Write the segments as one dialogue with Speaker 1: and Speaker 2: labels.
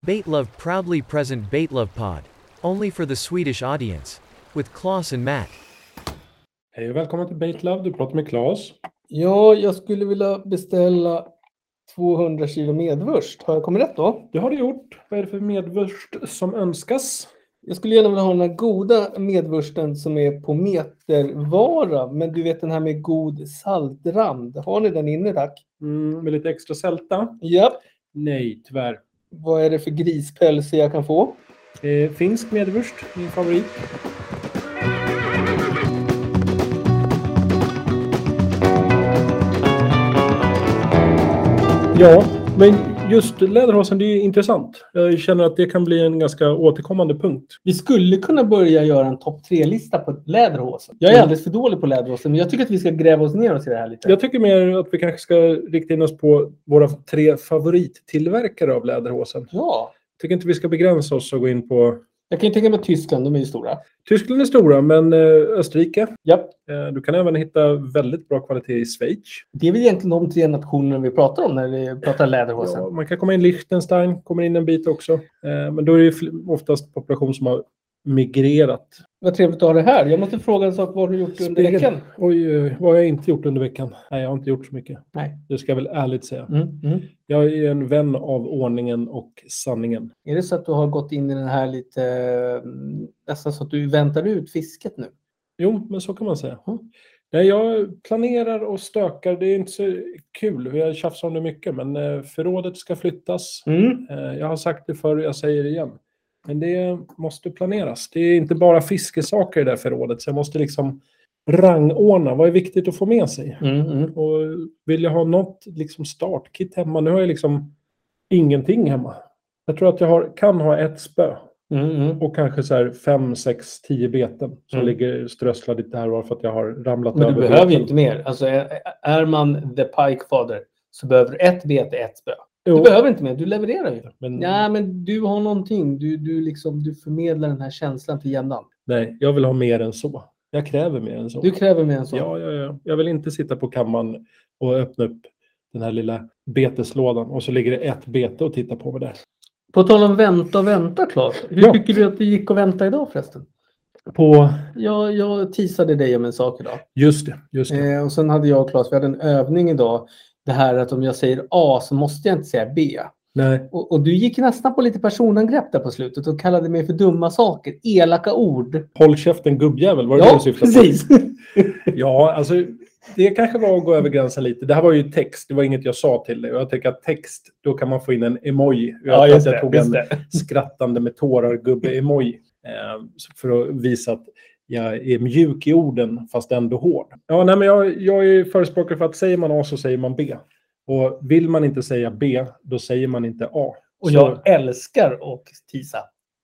Speaker 1: Baitlove proudly present Baitlove Pod. Only for the Swedish audience. With Klaus and Matt.
Speaker 2: Hej och välkommen till Baitlove. Du pratar med Claes.
Speaker 3: Ja, jag skulle vilja beställa 200 kilo medvurst. Har jag kommit rätt då?
Speaker 2: Det har du gjort. Vad är det för medvurst som önskas?
Speaker 3: Jag skulle gärna vilja ha den här goda medvursten som är på metervara, men du vet den här med god saltrand. Har ni den inne tack?
Speaker 2: Mm, med lite extra sälta?
Speaker 3: Japp.
Speaker 2: Nej, tyvärr.
Speaker 3: Vad är det för grispälse jag kan få?
Speaker 2: Eh, finsk medvurst, min favorit. Ja, men just läderhosen, det är intressant. Jag känner att det kan bli en ganska återkommande punkt.
Speaker 3: Vi skulle kunna börja göra en topp tre-lista på läderhosen. Jag är alldeles för dålig på läderhosen, men jag tycker att vi ska gräva oss ner oss i det här lite.
Speaker 2: Jag tycker mer att vi kanske ska rikta in oss på våra tre favorittillverkare av läderhosen.
Speaker 3: Ja,
Speaker 2: tycker inte vi ska begränsa oss och gå in på...
Speaker 3: jag kan ju tänka mig att Tyskland, de är ju stora.
Speaker 2: Tyskland är stora, men eh, Österrike.
Speaker 3: Japp.
Speaker 2: Eh, Du kan även hitta väldigt bra kvalitet i Schweiz.
Speaker 3: Det är väl egentligen de tre nationerna vi pratar om när vi pratar läderhosen.
Speaker 2: Ja, man kan komma in Liechtenstein, kommer in en bit också. Eh, Men då är det ju fl- oftast population som har migrerat.
Speaker 3: Vad trevligt att ha det här. Jag måste fråga en sak. Vad har du gjort under
Speaker 2: Spegel.
Speaker 3: veckan?
Speaker 2: Oj, oj, vad har jag inte gjort under veckan? Nej, jag har inte gjort så mycket.
Speaker 3: Nej.
Speaker 2: Det ska jag väl ärligt säga.
Speaker 3: Mm, mm.
Speaker 2: Jag är ju en vän av ordningen och sanningen.
Speaker 3: Är det så att du har gått in i den här lite, eh, nästan så att du väntar ut fisket nu?
Speaker 2: Jo, men så kan man säga.
Speaker 3: Mm.
Speaker 2: Nej, jag planerar och stökar. Det är inte så kul. Jag tjafsar om det mycket, men eh, förrådet ska flyttas.
Speaker 3: Mm,
Speaker 2: Eh, Jag har sagt det förr och jag säger det igen. Men det måste planeras. Det är inte bara fiskesaker i det här förrådet. Så jag måste liksom rangordna. Vad är viktigt att få med sig?
Speaker 3: Mm, mm.
Speaker 2: Och vill jag ha något liksom startkit hemma? Nu har jag liksom ingenting hemma. Jag tror att jag har, kan ha ett spö
Speaker 3: Mm, mm.
Speaker 2: och kanske så här fem, sex, tio beten som
Speaker 3: Mm.
Speaker 2: ligger strösslade lite här och var för att jag har ramlat
Speaker 3: Men
Speaker 2: över.
Speaker 3: du behöver ju
Speaker 2: beten.
Speaker 3: inte mer. Alltså, är, är man the pike father så behöver du ett bete, ett spö. Du
Speaker 2: Jo,
Speaker 3: behöver inte mer. Du levererar ju.
Speaker 2: men,
Speaker 3: Nej, men du har någonting. Du, du, liksom, du förmedlar den här känslan till jämnan.
Speaker 2: nej, jag vill ha mer än så. Jag kräver mer än så.
Speaker 3: Du kräver mer än så.
Speaker 2: Ja, ja, ja. Jag vill inte sitta på kammaren och öppna upp den här lilla beteslådan och så ligger det ett bete och titta på mig där.
Speaker 3: På tal om vänta och vänta, Claes. Hur
Speaker 2: Ja.
Speaker 3: tycker du att det gick att vänta idag förresten?
Speaker 2: På...
Speaker 3: Jag, jag teasade dig om en sak idag.
Speaker 2: Just det, just det.
Speaker 3: Eh, och sen hade jag och Claes, vi hade en övning idag. Det här att om jag säger A så måste jag inte säga B.
Speaker 2: Nej.
Speaker 3: Och, och du gick nästan på lite personangrepp där på slutet och kallade mig för dumma saker. Elaka ord.
Speaker 2: Håll käften gubbjävel, var det det du
Speaker 3: Ja,
Speaker 2: syftade på?
Speaker 3: precis.
Speaker 2: Ja, alltså det kanske var att gå över gränsen lite. Det här var ju text, det var inget jag sa till dig. Och jag tycker att text, då kan man få in en emoji. Jag tror att jag tog en skrattande med tårar-gubbe-emoji eh, för att visa att jag är mjuk i orden fast ändå hård. Ja, nej, men jag, jag är förespråkare för att säger man A så säger man B. Och vill man inte säga B, då säger man inte A.
Speaker 3: Och
Speaker 2: Så-
Speaker 3: jag älskar att teasa.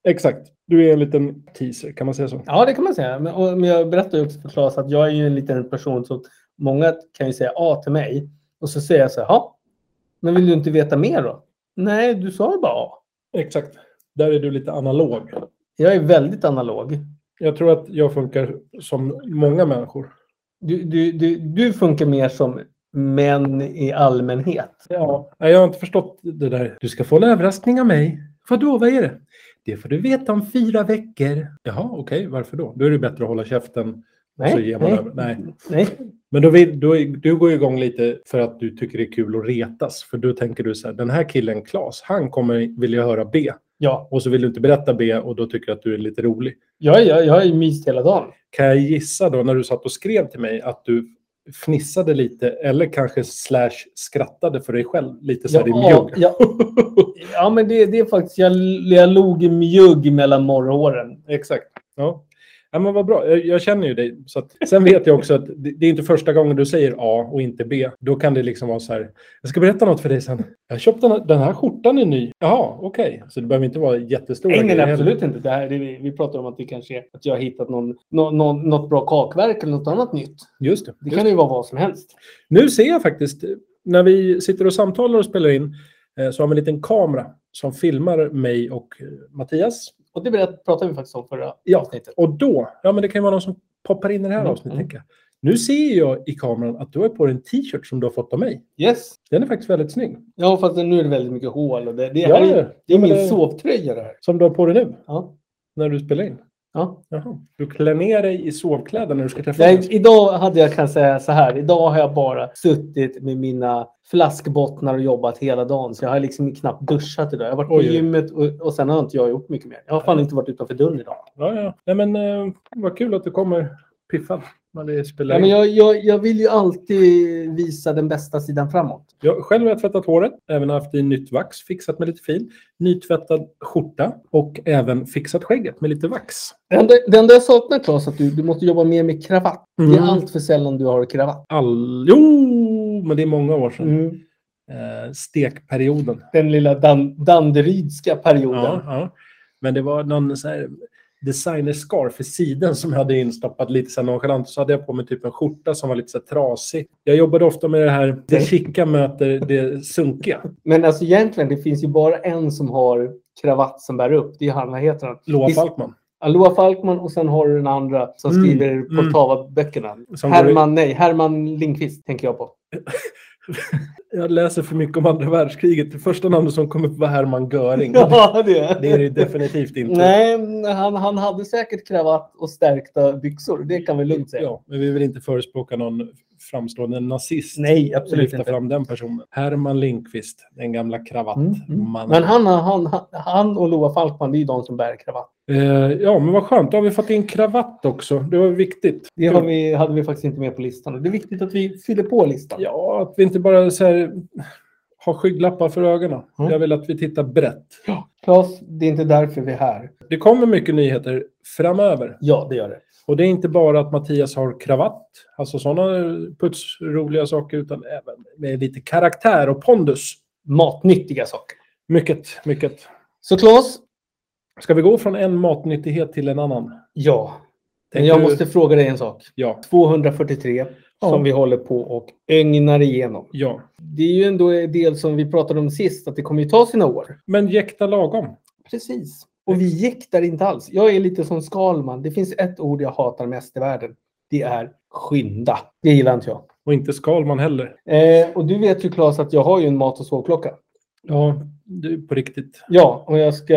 Speaker 2: Exakt. Du är en liten teaser, kan man säga så?
Speaker 3: Ja, det kan man säga. Men, och, men jag berättade ju också för Claes att jag är ju en liten person som många kan ju säga A till mig och så säger jag så här, ja, men vill du inte veta mer då? Nej, du sa ju bara A.
Speaker 2: Exakt. Där är du lite analog.
Speaker 3: Jag är väldigt analog.
Speaker 2: Jag tror att jag funkar som många människor.
Speaker 3: Du, du, du, du funkar mer som män i allmänhet.
Speaker 2: Ja. Nej, jag har inte förstått det där. Du ska få en överraskning av mig. Vadå, vad är det? Det får du veta om fyra veckor. Jaha, okej, varför då? Då är det bättre att hålla käften.
Speaker 3: Nej,
Speaker 2: Så ger man
Speaker 3: nej,
Speaker 2: över. Nej.
Speaker 3: nej.
Speaker 2: Men då vill, då, du går ju igång lite för att du tycker det är kul att retas. För då tänker du så här, den här killen Klas, han kommer vilja höra B.
Speaker 3: Ja,
Speaker 2: Och så vill du inte berätta B och då tycker du att du är lite rolig.
Speaker 3: jag, jag, jag har ju myst hela dagen.
Speaker 2: Kan jag gissa då när du satt och skrev till mig att du fnissade lite eller kanske slash skrattade för dig själv lite så här i
Speaker 3: Ja,
Speaker 2: mjugg?
Speaker 3: ja, ja, men det, det är faktiskt, jag, jag log i mjugg mellan morgonåren.
Speaker 2: Exakt. Ja. ja men vad bra. Jag, jag känner ju dig. Så att, sen vet jag också att det, det är inte första gången du säger A och inte B. Då kan det liksom vara så här. Jag ska berätta något för dig sen. Jag köpte den här, den här skjortan är ny. Jaha, okej. Så det behöver inte vara jättestora
Speaker 3: Nej, nej,
Speaker 2: grejer
Speaker 3: absolut inte. Det här, det, vi vi pratar om att det kanske är att jag har hittat någon, nå- nå- något bra kakverk eller något annat nytt.
Speaker 2: Just det.
Speaker 3: Det
Speaker 2: Just
Speaker 3: kan ju vara vad som helst.
Speaker 2: Nu ser jag faktiskt, när vi sitter och samtalar och spelar in, eh, så har vi en liten kamera som filmar mig och eh, Mattias.
Speaker 3: Och det berätt- pratade vi faktiskt om förra
Speaker 2: Ja.
Speaker 3: avsnittet.
Speaker 2: Och då, ja men det kan ju vara någon som poppar in i det här
Speaker 3: Mm,
Speaker 2: avsnittet.
Speaker 3: mm.
Speaker 2: tänker jag. Nu ser jag i kameran att du har på dig en t-shirt som du har fått av mig.
Speaker 3: Yes.
Speaker 2: Den är faktiskt väldigt snygg.
Speaker 3: Ja, fast nu är det väldigt mycket hål. Och det, det,
Speaker 2: Ja,
Speaker 3: här är,
Speaker 2: ja.
Speaker 3: det är
Speaker 2: Ja, men
Speaker 3: min
Speaker 2: det-
Speaker 3: sovtröja det här.
Speaker 2: Som du har på dig nu,
Speaker 3: Ja.
Speaker 2: när du spelar in.
Speaker 3: Ja.
Speaker 2: Jaha. Du klär ner dig i sovkläder när du ska träffa
Speaker 3: Nej,
Speaker 2: oss.
Speaker 3: idag hade jag kan säga så här. Idag har jag bara suttit med mina flaskbottnar och jobbat hela dagen. Så jag har liksom knappt duschat idag. Jag har varit på
Speaker 2: Oj, oj.
Speaker 3: gymmet och, och sen har inte jag gjort mycket mer. Jag har fan inte varit utanför dörren idag.
Speaker 2: Ja, ja. Nej, men eh, vad kul att du kommer piffad när det spelar
Speaker 3: Ja,
Speaker 2: in.
Speaker 3: men jag, jag, jag vill ju alltid visa den bästa sidan framåt.
Speaker 2: Jag själv har jag tvättat håret, även haft i nytt vax, fixat med lite fin, nytvättad skjorta och även fixat skägget med lite vax.
Speaker 3: Det enda, det enda jag saknar Claes är att du, du måste jobba mer med kravatt. Det är
Speaker 2: Mm.
Speaker 3: allt för sällan du har kravatt.
Speaker 2: All... Jo, men det är många år sedan. Eh, stekperioden.
Speaker 3: Mm. Den lilla dan, Danderydska perioden.
Speaker 2: Ja, ja. Men det var någon så här designerscarf i sidan som jag hade instoppat lite så här nonchalant. Så hade jag på mig typ en skjorta som var lite så här trasig. Jag jobbade ofta med det här, det chica möter det sunkiga.
Speaker 3: Men alltså egentligen, det finns ju bara en som har kravatt som bär upp. Det är han, vad heter han?
Speaker 2: Loa
Speaker 3: Visst-
Speaker 2: Falkman.
Speaker 3: Aloa Falkman och sen har du den andra som
Speaker 2: Mm,
Speaker 3: skriver
Speaker 2: mm.
Speaker 3: Poltava-böckerna.
Speaker 2: Som går i-
Speaker 3: Herman, nej, Herman Lindqvist tänker jag på.
Speaker 2: Jag läser för mycket om andra världskriget. Det första namnet som kom upp var Hermann Göring.
Speaker 3: Ja, det.
Speaker 2: Det är det ju definitivt inte.
Speaker 3: Nej, men han, han hade säkert kravatt och stärkta byxor. Det kan vi lugnt säga.
Speaker 2: Ja, men vi vill inte förespråka någon framstående nazist.
Speaker 3: Nej,
Speaker 2: Och lyfta fram den personen. Herman Lindqvist, den gamla
Speaker 3: Mm,
Speaker 2: kravattmannen.
Speaker 3: mm. Men han, han, han, han och Loa Falkman, det är ju de som bär kravatt.
Speaker 2: Eh, ja, men vad skönt. Då har vi fått in kravatt också. Det var viktigt.
Speaker 3: Det har vi, hade vi faktiskt inte med på listan. Och Det är viktigt att vi fyller på listan.
Speaker 2: Ja, att vi inte bara så här, har skygglappar för ögonen.
Speaker 3: Mm.
Speaker 2: Jag vill att vi tittar brett.
Speaker 3: Claes, det är inte därför vi är här.
Speaker 2: Det kommer mycket nyheter framöver.
Speaker 3: Ja, det gör det.
Speaker 2: Och det är inte bara att Mattias har kravatt, alltså sådana putsroliga saker, utan även med lite karaktär och pondus.
Speaker 3: Matnyttiga saker.
Speaker 2: Mycket, mycket.
Speaker 3: Så Claes,
Speaker 2: Ska vi gå från en matnyttighet till en annan?
Speaker 3: ja. Men
Speaker 2: Tänker
Speaker 3: jag
Speaker 2: du-
Speaker 3: måste fråga dig en sak.
Speaker 2: Ja.
Speaker 3: 243
Speaker 2: Ja.
Speaker 3: som vi håller på och ögnar igenom.
Speaker 2: ja.
Speaker 3: Det är ju ändå en del som vi pratade om sist, att det kommer ju ta sina år.
Speaker 2: Men jäkta lagom.
Speaker 3: Precis. Och vi jäktar inte alls. Jag är lite som Skalman. Det finns ett ord jag hatar mest i världen. Det är skynda. Det gillar inte jag.
Speaker 2: Och inte Skalman heller.
Speaker 3: Eh, och du vet ju Claes att jag har ju en mat och sovklocka.
Speaker 2: Ja, du på riktigt.
Speaker 3: Ja, och jag ska...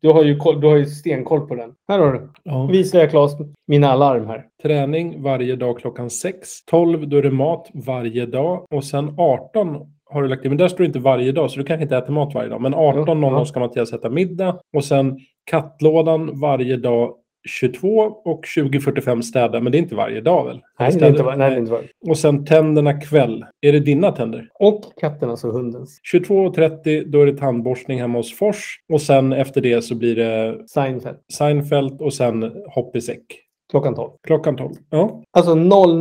Speaker 3: Du har ju, koll, du har ju stenkoll på den. Här har du.
Speaker 2: Ja.
Speaker 3: Visar jag Claes mina alarm här.
Speaker 2: Träning varje dag klockan 6. 12 då är det mat varje dag. Och sen 18 har du lagt in. Men där står det inte varje dag så du kanske inte äter mat varje dag. Men 18.00
Speaker 3: Ja.
Speaker 2: ska Mattias äta middag. Och sen kattlådan varje dag 22 och 20.45 städa. Men det är inte varje dag väl?
Speaker 3: Nej, det är inte, var- nej, det är inte var.
Speaker 2: Och sen tänderna kväll. Är det dina tänder?
Speaker 3: Och katten, alltså hundens.
Speaker 2: 22.30 då är det tandborstning hemma hos Fors. Och sen efter det så blir det
Speaker 3: Seinfeld.
Speaker 2: Seinfeld och sen hopp i säck.
Speaker 3: Klockan 12.
Speaker 2: Klockan 12. Ja.
Speaker 3: Alltså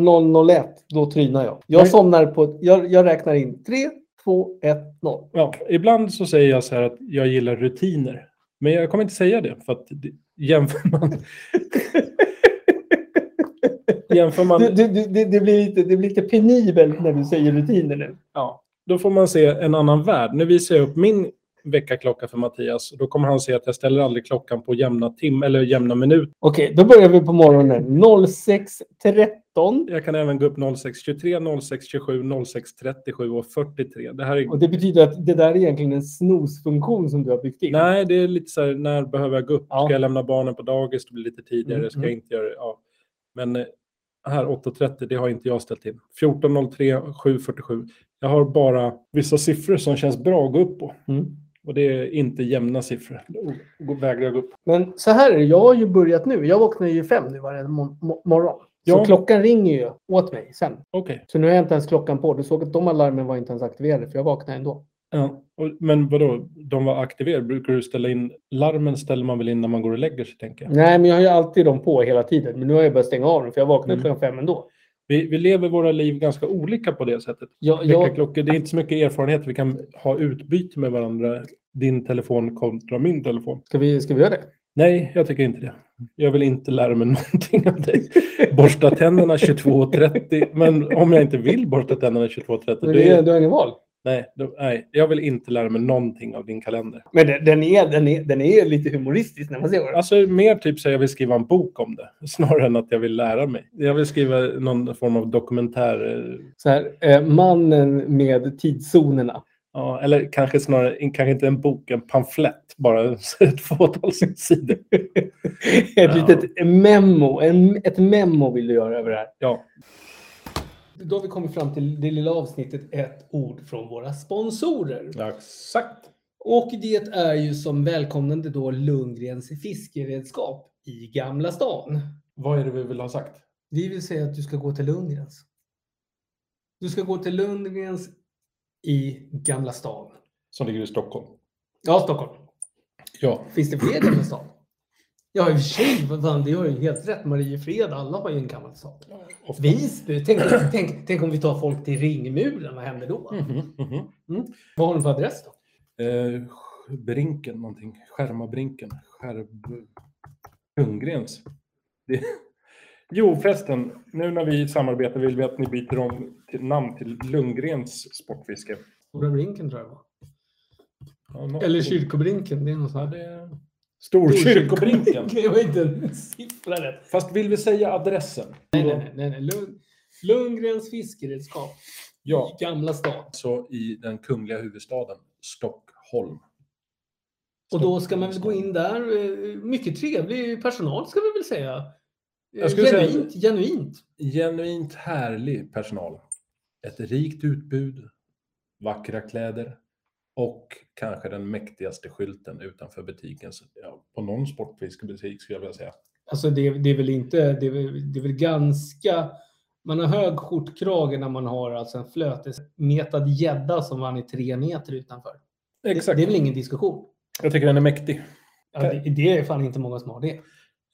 Speaker 3: 0001, då trynar jag. Jag
Speaker 2: Nej.
Speaker 3: somnar på... Jag, jag räknar in 3, 2, 1, 0.
Speaker 2: ja. Ibland så säger jag så här att jag gillar rutiner. Men jag kommer inte säga det för att det- jämför man... jämför
Speaker 3: Du,
Speaker 2: man...
Speaker 3: du, du, det, det, blir lite, det blir lite penibelt när du säger rutiner nu.
Speaker 2: Ja. Då får man se en annan värld. Nu visar jag upp min väckarklocka för Mattias. Då kommer han se att jag ställer aldrig klockan på jämna tim eller jämna minut.
Speaker 3: Okej, då börjar vi på morgonen. 06.13.
Speaker 2: Jag kan även gå upp 06.23, 06.27, 06.37 och 43. Det här är
Speaker 3: Och det betyder att det där är egentligen en snooze-funktion som du har byggt in.
Speaker 2: Nej, det är lite så här, när behöver jag gå upp?
Speaker 3: Ja.
Speaker 2: Ska jag lämna barnen på dagis? Det blir lite tidigare.
Speaker 3: Mm,
Speaker 2: Ska jag inte göra det? Ja. Men eh, här 8.30, det har inte jag ställt in. 14.03, 7.47. Jag har bara vissa siffror som känns bra att gå upp på.
Speaker 3: Mm.
Speaker 2: Och det är inte jämna siffror. Då går- vägrar jag gå upp.
Speaker 3: Men så här är det, jag har ju börjat nu. Jag vaknar ju fem nu varje mo- mo- morgon. Så
Speaker 2: Ja.
Speaker 3: klockan ringer ju åt mig sen.
Speaker 2: Okej.
Speaker 3: Så nu har jag inte ens klockan på. Du såg att de alarmen var inte ens aktiverade, för jag vaknade ändå.
Speaker 2: Ja. Och- Men vadå, de var aktiverade. Brukar du ställa in... Larmen ställer man väl in när man går och lägger sig, tänker jag.
Speaker 3: Nej, men jag har ju alltid dem på hela tiden. Men nu har jag börjat stänga av dem, för jag vaknade
Speaker 2: Mm.
Speaker 3: klockan fem ändå.
Speaker 2: Vi, vi lever våra liv ganska olika på det sättet.
Speaker 3: Jag, jag,
Speaker 2: Väckarklockor, det är inte så mycket erfarenhet vi kan ha utbyte med varandra. Din telefon kontra min telefon.
Speaker 3: ska, vi, ska vi göra det?
Speaker 2: Nej, jag tycker inte det. Jag vill inte lära mig någonting av dig. Borsta tänderna 22.30. Men om jag inte vill borsta tänderna 22.30,
Speaker 3: Men det,
Speaker 2: det,
Speaker 3: du har ingen val.
Speaker 2: Nej, då, nej, jag vill inte lära mig någonting av din kalender.
Speaker 3: Men den, den, är, den, är, den är lite humoristisk när man ser den.
Speaker 2: Alltså mer typ så jag vill skriva en bok om det, snarare än att jag vill lära mig. Jag vill skriva någon form av dokumentär. eh,
Speaker 3: Så här, eh, mannen med tidszonerna.
Speaker 2: Ja, eller kanske snarare, in- kanske inte en bok, en pamflett. Bara ett fåtal sidor.
Speaker 3: Ett
Speaker 2: Ja.
Speaker 3: litet memo. En, ett memo vill du göra över det här.
Speaker 2: Ja,
Speaker 3: Då har vi kommit fram till det lilla avsnittet Ett ord från våra sponsorer.
Speaker 2: exakt.
Speaker 3: Och det är ju som välkomnande då Lundgrens fiskeredskap i Gamla stan.
Speaker 2: Vad är det vi vill ha sagt?
Speaker 3: Vi vill säga att du ska gå till Lundgrens. Du ska gå till Lundgrens i Gamla stan.
Speaker 2: Som ligger i Stockholm.
Speaker 3: Ja, Stockholm.
Speaker 2: Ja.
Speaker 3: Finns det fler Gamla stan? Ja, i och för sig. vad fan, Det har ju helt rätt. Mariefred, alla har ju en Gamla stan.
Speaker 2: ofta.
Speaker 3: Visby. Tänk, tänk, tänk om vi tar folk till Ringmuren. Vad händer då?
Speaker 2: Mhm, mhm.
Speaker 3: Vad har de för adress då?
Speaker 2: Eh, brinken någonting. Skärmabrinken. Skärb... Kunggrens. Det... Jo förresten, nu när vi samarbetar vill vi att ni byter om till namn till Lundgrens Sportfiske.
Speaker 3: Stora Brinken tror jag det var.
Speaker 2: Ja, något-
Speaker 3: Eller Kyrkobrinken. Det är något så
Speaker 2: Ja,
Speaker 3: här.
Speaker 2: det... Storkyrkobrinken.
Speaker 3: Det var inte en siffra rätt.
Speaker 2: Fast vill vi säga adressen?
Speaker 3: Nej, nej, nej. nej, nej. Lund, Lundgrens fiskeredskap.
Speaker 2: Ja,
Speaker 3: I Gamla stan.
Speaker 2: så Alltså i den kungliga huvudstaden Stockholm.
Speaker 3: Och då ska man väl gå in där. eh, Mycket trevlig personal ska vi väl säga. Eh,
Speaker 2: Jag skulle säga-
Speaker 3: genuint, genuint.
Speaker 2: Genuint härlig personal. Ett rikt utbud, vackra kläder och kanske den mäktigaste skylten utanför butiken. Så, ja, på någon sportfiskebutik skulle jag vilja säga.
Speaker 3: Alltså det, det är väl inte, det är väl, det är väl ganska, man har hög skjortkrage när man har alltså en flötesmetad gädda som vann i tre meter utanför. Det,
Speaker 2: Exakt.
Speaker 3: det är väl ingen diskussion.
Speaker 2: Jag tycker den är mäktig.
Speaker 3: Ja, det, det är fan inte många som har det.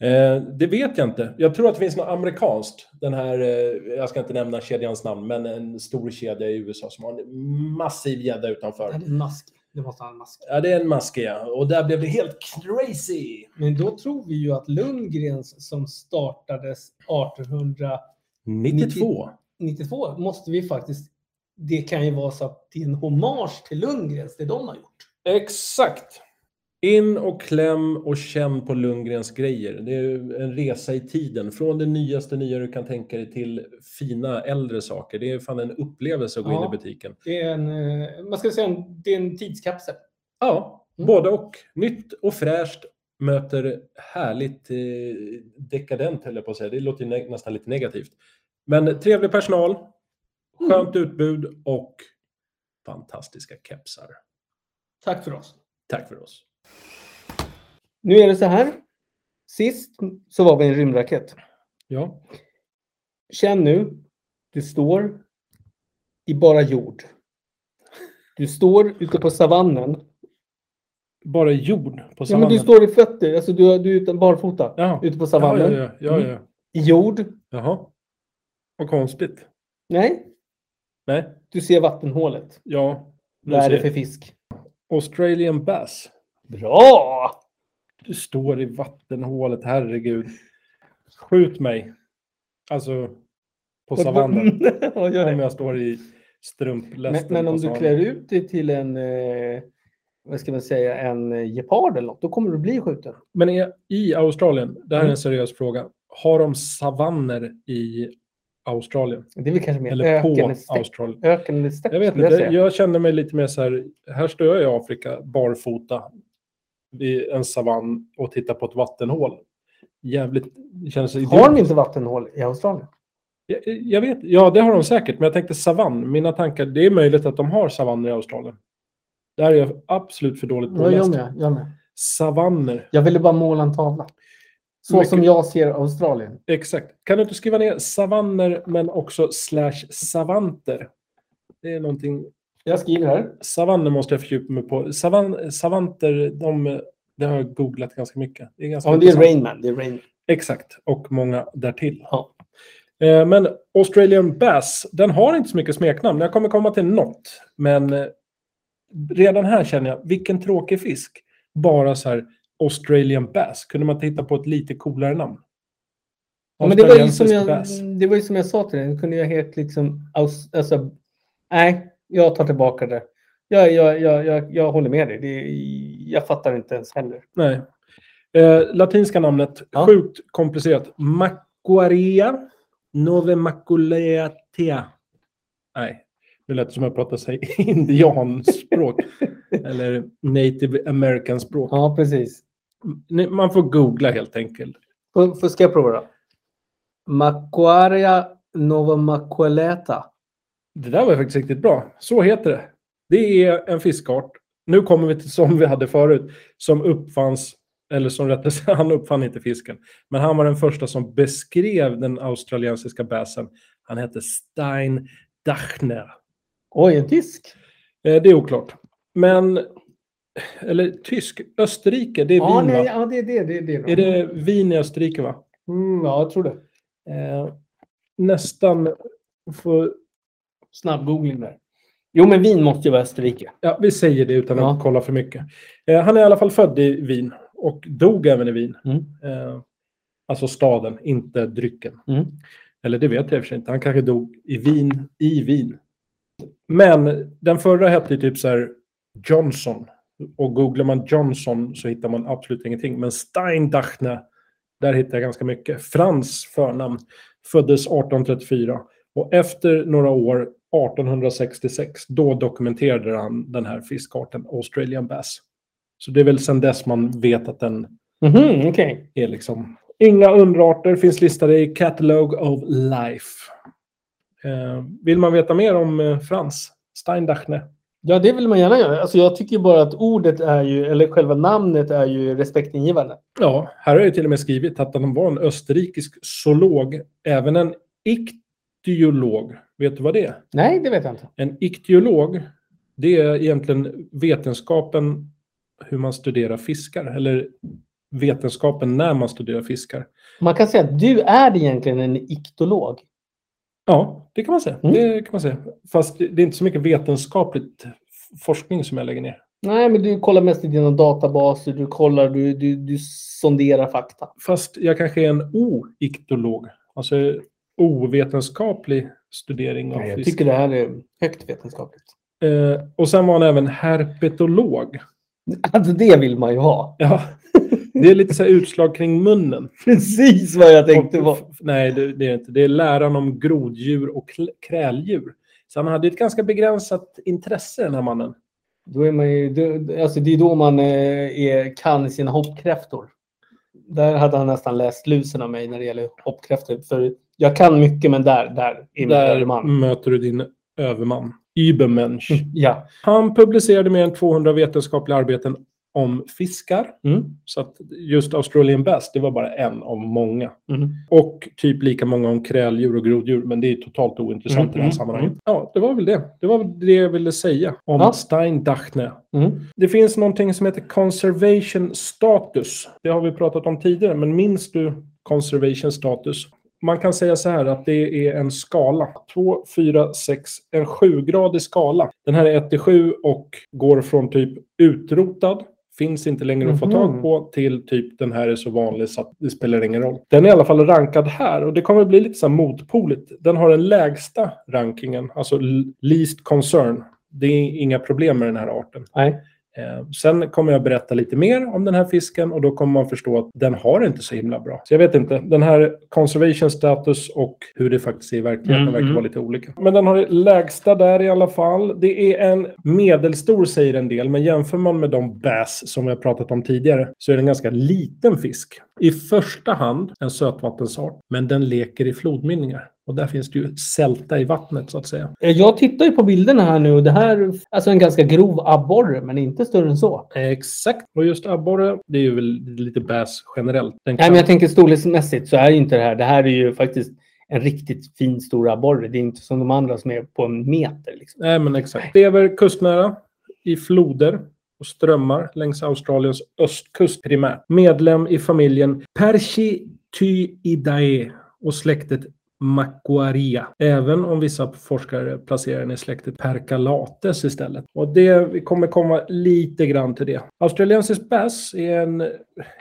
Speaker 2: Eh, det vet jag inte. Jag tror att det finns något amerikanskt. Den här, eh, jag ska inte nämna kedjans namn, men en stor kedja i USA som har en massiv gädda utanför.
Speaker 3: Det är en mask. Det måste ha en mask.
Speaker 2: Ja, det är en maske, ja. Och där blev det helt crazy.
Speaker 3: Men då tror vi ju att Lundgrens som startades 1892
Speaker 2: 92.
Speaker 3: måste vi faktiskt, det kan ju vara så att det är en hommage till Lundgrens, det de har gjort.
Speaker 2: Exakt. In och kläm och känn på Lundgrens grejer. Det är ju en resa i tiden. Från det nyaste nya du kan tänka dig till fina äldre saker. Det är fan en upplevelse att gå
Speaker 3: Ja.
Speaker 2: in i butiken.
Speaker 3: Det är en, eh, man ska säga, en, det är en tidskapsel.
Speaker 2: Ja,
Speaker 3: Mm.
Speaker 2: både och. Nytt och fräscht möter härligt eh, dekadent, höll jag på att säga. Det låter ju nä- nästan lite negativt. Men trevlig personal, skönt utbud och fantastiska kepsar.
Speaker 3: Tack för oss.
Speaker 2: Tack för oss.
Speaker 3: Nu är det så här. Sist så var vi i en rymdraket.
Speaker 2: Ja.
Speaker 3: Känn nu, du står i bara jord. Du står ute på savannen.
Speaker 2: Bara jord på
Speaker 3: Ja, men du står i fötter, alltså du, du är utan barfota.
Speaker 2: Ja.
Speaker 3: Ute på savannen. Mm.
Speaker 2: Ja, ja, ja, ja, ja.
Speaker 3: I jord.
Speaker 2: Jaha. Vad konstigt.
Speaker 3: Nej,
Speaker 2: Nej,
Speaker 3: du ser vattenhålet.
Speaker 2: ja. nu
Speaker 3: Vad är det
Speaker 2: ser
Speaker 3: för
Speaker 2: jag.
Speaker 3: fisk?
Speaker 2: Australian bass.
Speaker 3: Bra!
Speaker 2: Du står i vattenhålet, herregud. Skjut mig. Alltså, på savannen.
Speaker 3: ja, gör
Speaker 2: Om
Speaker 3: det.
Speaker 2: jag står i
Speaker 3: Men,
Speaker 2: strumplästen
Speaker 3: men
Speaker 2: på
Speaker 3: om du
Speaker 2: savannen.
Speaker 3: klär ut dig till en, eh, vad ska man säga, en eh, gepard eller något, då kommer du bli skjuten.
Speaker 2: Men är, i Australien, det här är
Speaker 3: Mm.
Speaker 2: en seriös fråga. Har de savanner i Australien?
Speaker 3: Det är väl kanske mer
Speaker 2: Eller på
Speaker 3: ökeneffekt.
Speaker 2: Australien?
Speaker 3: Öken eller stäpp
Speaker 2: Jag vet
Speaker 3: skulle
Speaker 2: inte,
Speaker 3: säga.
Speaker 2: jag, känner mig lite mer så här, här står jag i Afrika barfota vid en savann och tittar på ett vattenhål. Jävligt, det känns
Speaker 3: Har de
Speaker 2: idiotiskt.
Speaker 3: inte vattenhål i Australien?
Speaker 2: Jag, jag vet, ja det har de säkert, men jag tänkte savann, mina tankar, det är möjligt att de har savanner i Australien. Där är jag absolut för dåligt
Speaker 3: Ja, jag
Speaker 2: påläst.
Speaker 3: med, jag med.
Speaker 2: Savanner,
Speaker 3: Jag ville bara måla en tavla. Så
Speaker 2: Mycket-
Speaker 3: som jag ser Australien.
Speaker 2: exakt. Kan du inte skriva ner savanner, men också slash savanter? Det är någonting
Speaker 3: Jag skriver här.
Speaker 2: Savanner måste jag fördjupa mig på. Savan, savanter, de, det har jag googlat ganska mycket. Det är ganska
Speaker 3: Ja, men det är
Speaker 2: intressant.
Speaker 3: Rainman. Det är Rainman.
Speaker 2: Exakt, och många därtill.
Speaker 3: Ja.
Speaker 2: Eh, Men Australian Bass, den har inte så mycket smeknamn. Jag kommer komma till något. Men eh, redan här känner jag, vilken tråkig fisk. Bara så här, Australian Bass. Kunde man titta på ett lite coolare namn?
Speaker 3: Ja, men det, var ju som
Speaker 2: Australiensisk
Speaker 3: jag,
Speaker 2: bass.
Speaker 3: det var ju som jag sa till dig. Nu kunde jag helt liksom... aus- Alltså, nej, Jag tar tillbaka det. Jag, jag, jag, jag, jag håller med dig. Det, jag fattar inte ens heller.
Speaker 2: Nej. Eh, latinska namnet,
Speaker 3: Ja.
Speaker 2: sjukt komplicerat. Macuarea Nove Maculatea. Nej, det lät som jag pratade sig indianspråk. eller native american språk.
Speaker 3: Ja, precis.
Speaker 2: Nej, Man får googla helt enkelt.
Speaker 3: F- f- ska jag prova då? Macuaria Nova Macualeta.
Speaker 2: Det där var faktiskt riktigt bra. Så heter det. Det är en fiskart. Nu kommer vi till som vi hade förut, som uppfanns, eller som rättare sagt, han uppfann inte fisken. Men han var den första som beskrev den australiensiska bäsen. Han hette Stein Dachner.
Speaker 3: Oj, en tysk.
Speaker 2: Eh, Det är oklart. Men, eller tysk, Österrike, det är
Speaker 3: Ja,
Speaker 2: vin
Speaker 3: nej,
Speaker 2: va?
Speaker 3: ja, det är det. det, är det,
Speaker 2: Är det vin i Österrike va?
Speaker 3: Mm, ja, jag tror det.
Speaker 2: Eh, nästan. För,
Speaker 3: Snabbgoogling där. Jo, men vin måste ju vara Österrike.
Speaker 2: ja, vi säger det utan
Speaker 3: Ja.
Speaker 2: att kolla för mycket. Eh, han är i alla fall född i Wien och dog även i Wien.
Speaker 3: Mm.
Speaker 2: Eh, alltså staden, inte drycken.
Speaker 3: Mm.
Speaker 2: Eller det vet jag i och för sig inte. Han kanske dog i Wien, i Wien. Men den förra hette ju typ så här Johnson. Och googlar man Johnson så hittar man absolut ingenting. Men Steindachne, där hittar jag ganska mycket. Frans förnamn. Föddes 1834. Och efter några år, 1866, då dokumenterade han den här fiskarten, Australian bass. Så det är väl sedan dess man vet att den
Speaker 3: Mhm, Okej.
Speaker 2: är liksom... Inga underarter finns listade i Catalog of Life. Eh, vill man veta mer om eh, Frans Steindachne?
Speaker 3: Ja, det vill man gärna göra. Alltså, jag tycker ju bara att ordet är ju, eller själva namnet är ju respektingivande.
Speaker 2: Ja, här har jag till och med skrivit att han var en österrikisk zoolog, även en iktiolog. Vet du vad det är?
Speaker 3: Nej, det vet jag inte.
Speaker 2: En iktiolog, det är egentligen vetenskapen hur man studerar fiskar, eller vetenskapen när man studerar fiskar.
Speaker 3: Man kan säga att du är egentligen en iktolog.
Speaker 2: Ja, det kan man säga.
Speaker 3: Mm.
Speaker 2: Det kan man säga. Fast det det är inte så mycket vetenskapligt f- forskning som jag lägger ner.
Speaker 3: Nej, men du kollar mest i dina databaser. Du kollar, du, du, du sonderar fakta.
Speaker 2: Fast jag kanske är en o-iktolog. Alltså ovetenskaplig studering av
Speaker 3: Nej, jag
Speaker 2: fisk.
Speaker 3: tycker det här är högt vetenskapligt.
Speaker 2: Eh, och sen var han även herpetolog.
Speaker 3: Alltså, det vill man ju ha.
Speaker 2: Ja. Det är lite så här utslag kring munnen.
Speaker 3: Precis vad jag tänkte
Speaker 2: Och-
Speaker 3: vara.
Speaker 2: Nej, det, det är inte. Det är läran om groddjur och kl- kräldjur. Så han hade ett ganska begränsat intresse, den här mannen.
Speaker 3: Då är man ju, då, alltså det är då man eh, är, kan sina hoppkräftor. Där hade han nästan läst lusen av mig när det gäller hoppkräftor. För jag kan mycket, men där, där är min
Speaker 2: Där Mm.
Speaker 3: man.
Speaker 2: möter du din överman. Übermensch.
Speaker 3: Mm. Ja.
Speaker 2: Han publicerade mer än 200 vetenskapliga arbeten om fiskar.
Speaker 3: Mm.
Speaker 2: Så att just Australian Bass, det var bara en av många.
Speaker 3: Mm.
Speaker 2: Och typ lika många om kräldjur och groddjur, men det är totalt ointressant
Speaker 3: Mm,
Speaker 2: i det här
Speaker 3: mm,
Speaker 2: sammanhanget. Ja, det var väl det. Det var väl det jag ville säga om
Speaker 3: Ja.
Speaker 2: Steindachne.
Speaker 3: Mm.
Speaker 2: Det finns någonting som heter conservation status. Det har vi pratat om tidigare, men minns du conservation status? Man kan säga så här att det är en skala. 2, 4, 6, en 7-gradig skala. Den här är 1 till 7 och går från typ utrotad, finns inte längre att få
Speaker 3: Mhm.
Speaker 2: tag på, till typ den här är så vanlig så att det spelar ingen roll. Den är i alla fall rankad här och det kommer bli lite så här motpoligt. Den har den lägsta rankingen, alltså l- least concern. Det är inga problem med den här arten.
Speaker 3: Nej.
Speaker 2: Eh, Sen kommer jag berätta lite mer om den här fisken och då kommer man förstå att den har det inte så himla bra. Så jag vet inte, den här conservation status och hur det faktiskt är i verkligheten
Speaker 3: Mm,
Speaker 2: verkar
Speaker 3: mm.
Speaker 2: vara lite olika. Men den har det lägsta där i alla fall. Det är en medelstor säger en del, men jämför man med de bass som vi har pratat om tidigare så är det en ganska liten fisk. I första hand en sötvattensart, men den leker i flodmynningar. Och där finns det ju sälta i vattnet så att säga.
Speaker 3: Eh, Jag tittar ju på bilderna här nu och det här alltså en ganska grov abborre, men inte större än så.
Speaker 2: Exakt. Och just abborre, det är ju väl lite bass generellt. Den
Speaker 3: Nej,
Speaker 2: kan-
Speaker 3: men jag tänker storleksmässigt så är ju inte det här. Det här är ju faktiskt en riktigt fin stor abborre. Det är inte som de andra som är på en meter. Liksom.
Speaker 2: Nej, men exakt. Lever kustnära i floder och strömmar längs Australiens östkust primärt. Medlem i familjen Perchityidae och släktet Macquaria. Även om vissa forskare placerar den i släktet Percalates istället. Och det vi kommer komma lite grann till det. Australiensis bass är en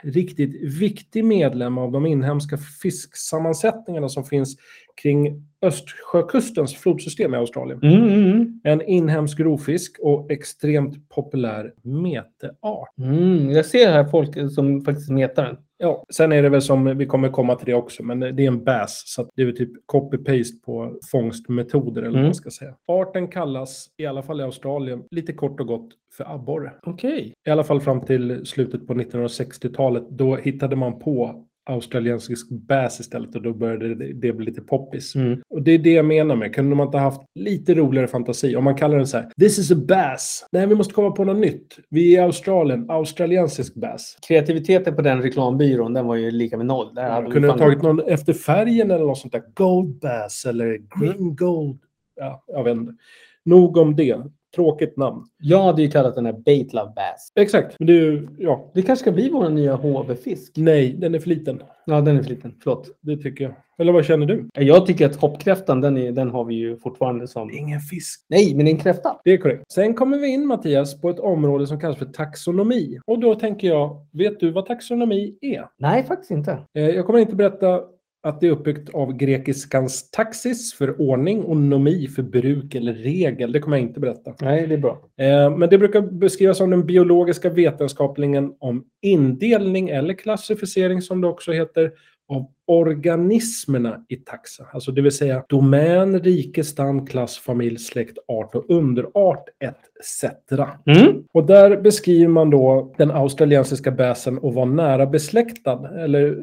Speaker 2: riktigt viktig medlem av de inhemska fisksammansättningarna som finns kring Östersjökustens flodsystem i Australien.
Speaker 3: Mm, mm, mm.
Speaker 2: En inhemsk rovfisk och extremt populär meteart.
Speaker 3: Mm, jag ser här folk som faktiskt metar den.
Speaker 2: Ja, sen är det väl som, vi kommer komma till det också, men det är en bass så att det är väl typ copy-paste på fångstmetoder eller vad
Speaker 3: Mm.
Speaker 2: man ska säga. Arten kallas, i alla fall i Australien, lite kort och gott för abborre.
Speaker 3: Okej.
Speaker 2: I alla fall fram till slutet på 1960-talet. Då hittade man på australiensisk bass istället och då började det- det bli lite poppis.
Speaker 3: Mm.
Speaker 2: Och det är det jag menar med. Kunde man inte haft lite roligare fantasi? Om man kallar den så här, this is a bass. Nej, vi måste komma på något nytt. Vi är i Australien, australiensisk bass.
Speaker 3: Kreativiteten på den reklambyrån, den var ju lika med noll. Där hade
Speaker 2: Man
Speaker 3: de
Speaker 2: kunde ha
Speaker 3: fan-
Speaker 2: tagit någon efter färgen eller något sånt där. Gold bass eller green gold. Ja, jag vet inte. Nog om det. Tråkigt namn.
Speaker 3: Jag hade ju kallat den här Bait Love Bass.
Speaker 2: Exakt. Men det är ju, ja.
Speaker 3: Det kanske ska bli vår nya HV-fisk.
Speaker 2: Nej, den är för liten.
Speaker 3: Ja, den är för liten. Förlåt.
Speaker 2: Det tycker jag. Eller vad känner du?
Speaker 3: Jag tycker att hoppkräftan, den, är, den har vi ju fortfarande som...
Speaker 2: Ingen fisk.
Speaker 3: Nej, men det är en kräfta.
Speaker 2: Det är korrekt. Sen kommer vi in Mattias på ett område som kallas för taxonomi. Och då tänker jag, vet du vad taxonomi är?
Speaker 3: Nej, faktiskt inte.
Speaker 2: Eh, Jag kommer inte berätta att det är uppbyggt av grekiskans taxis för ordning och nomi för bruk eller regel. Det kommer jag inte berätta.
Speaker 3: Nej, det är bra.
Speaker 2: Eh, Men det brukar beskrivas som den biologiska vetenskaplingen om indelning eller klassificering som det också heter av organismerna i taxa. Alltså det vill säga domän, rike, stam, klass, familj, släkt, art och underart etc.
Speaker 3: Mm.
Speaker 2: Och där beskriver man då den australiensiska bäsen och var nära besläktad. Eller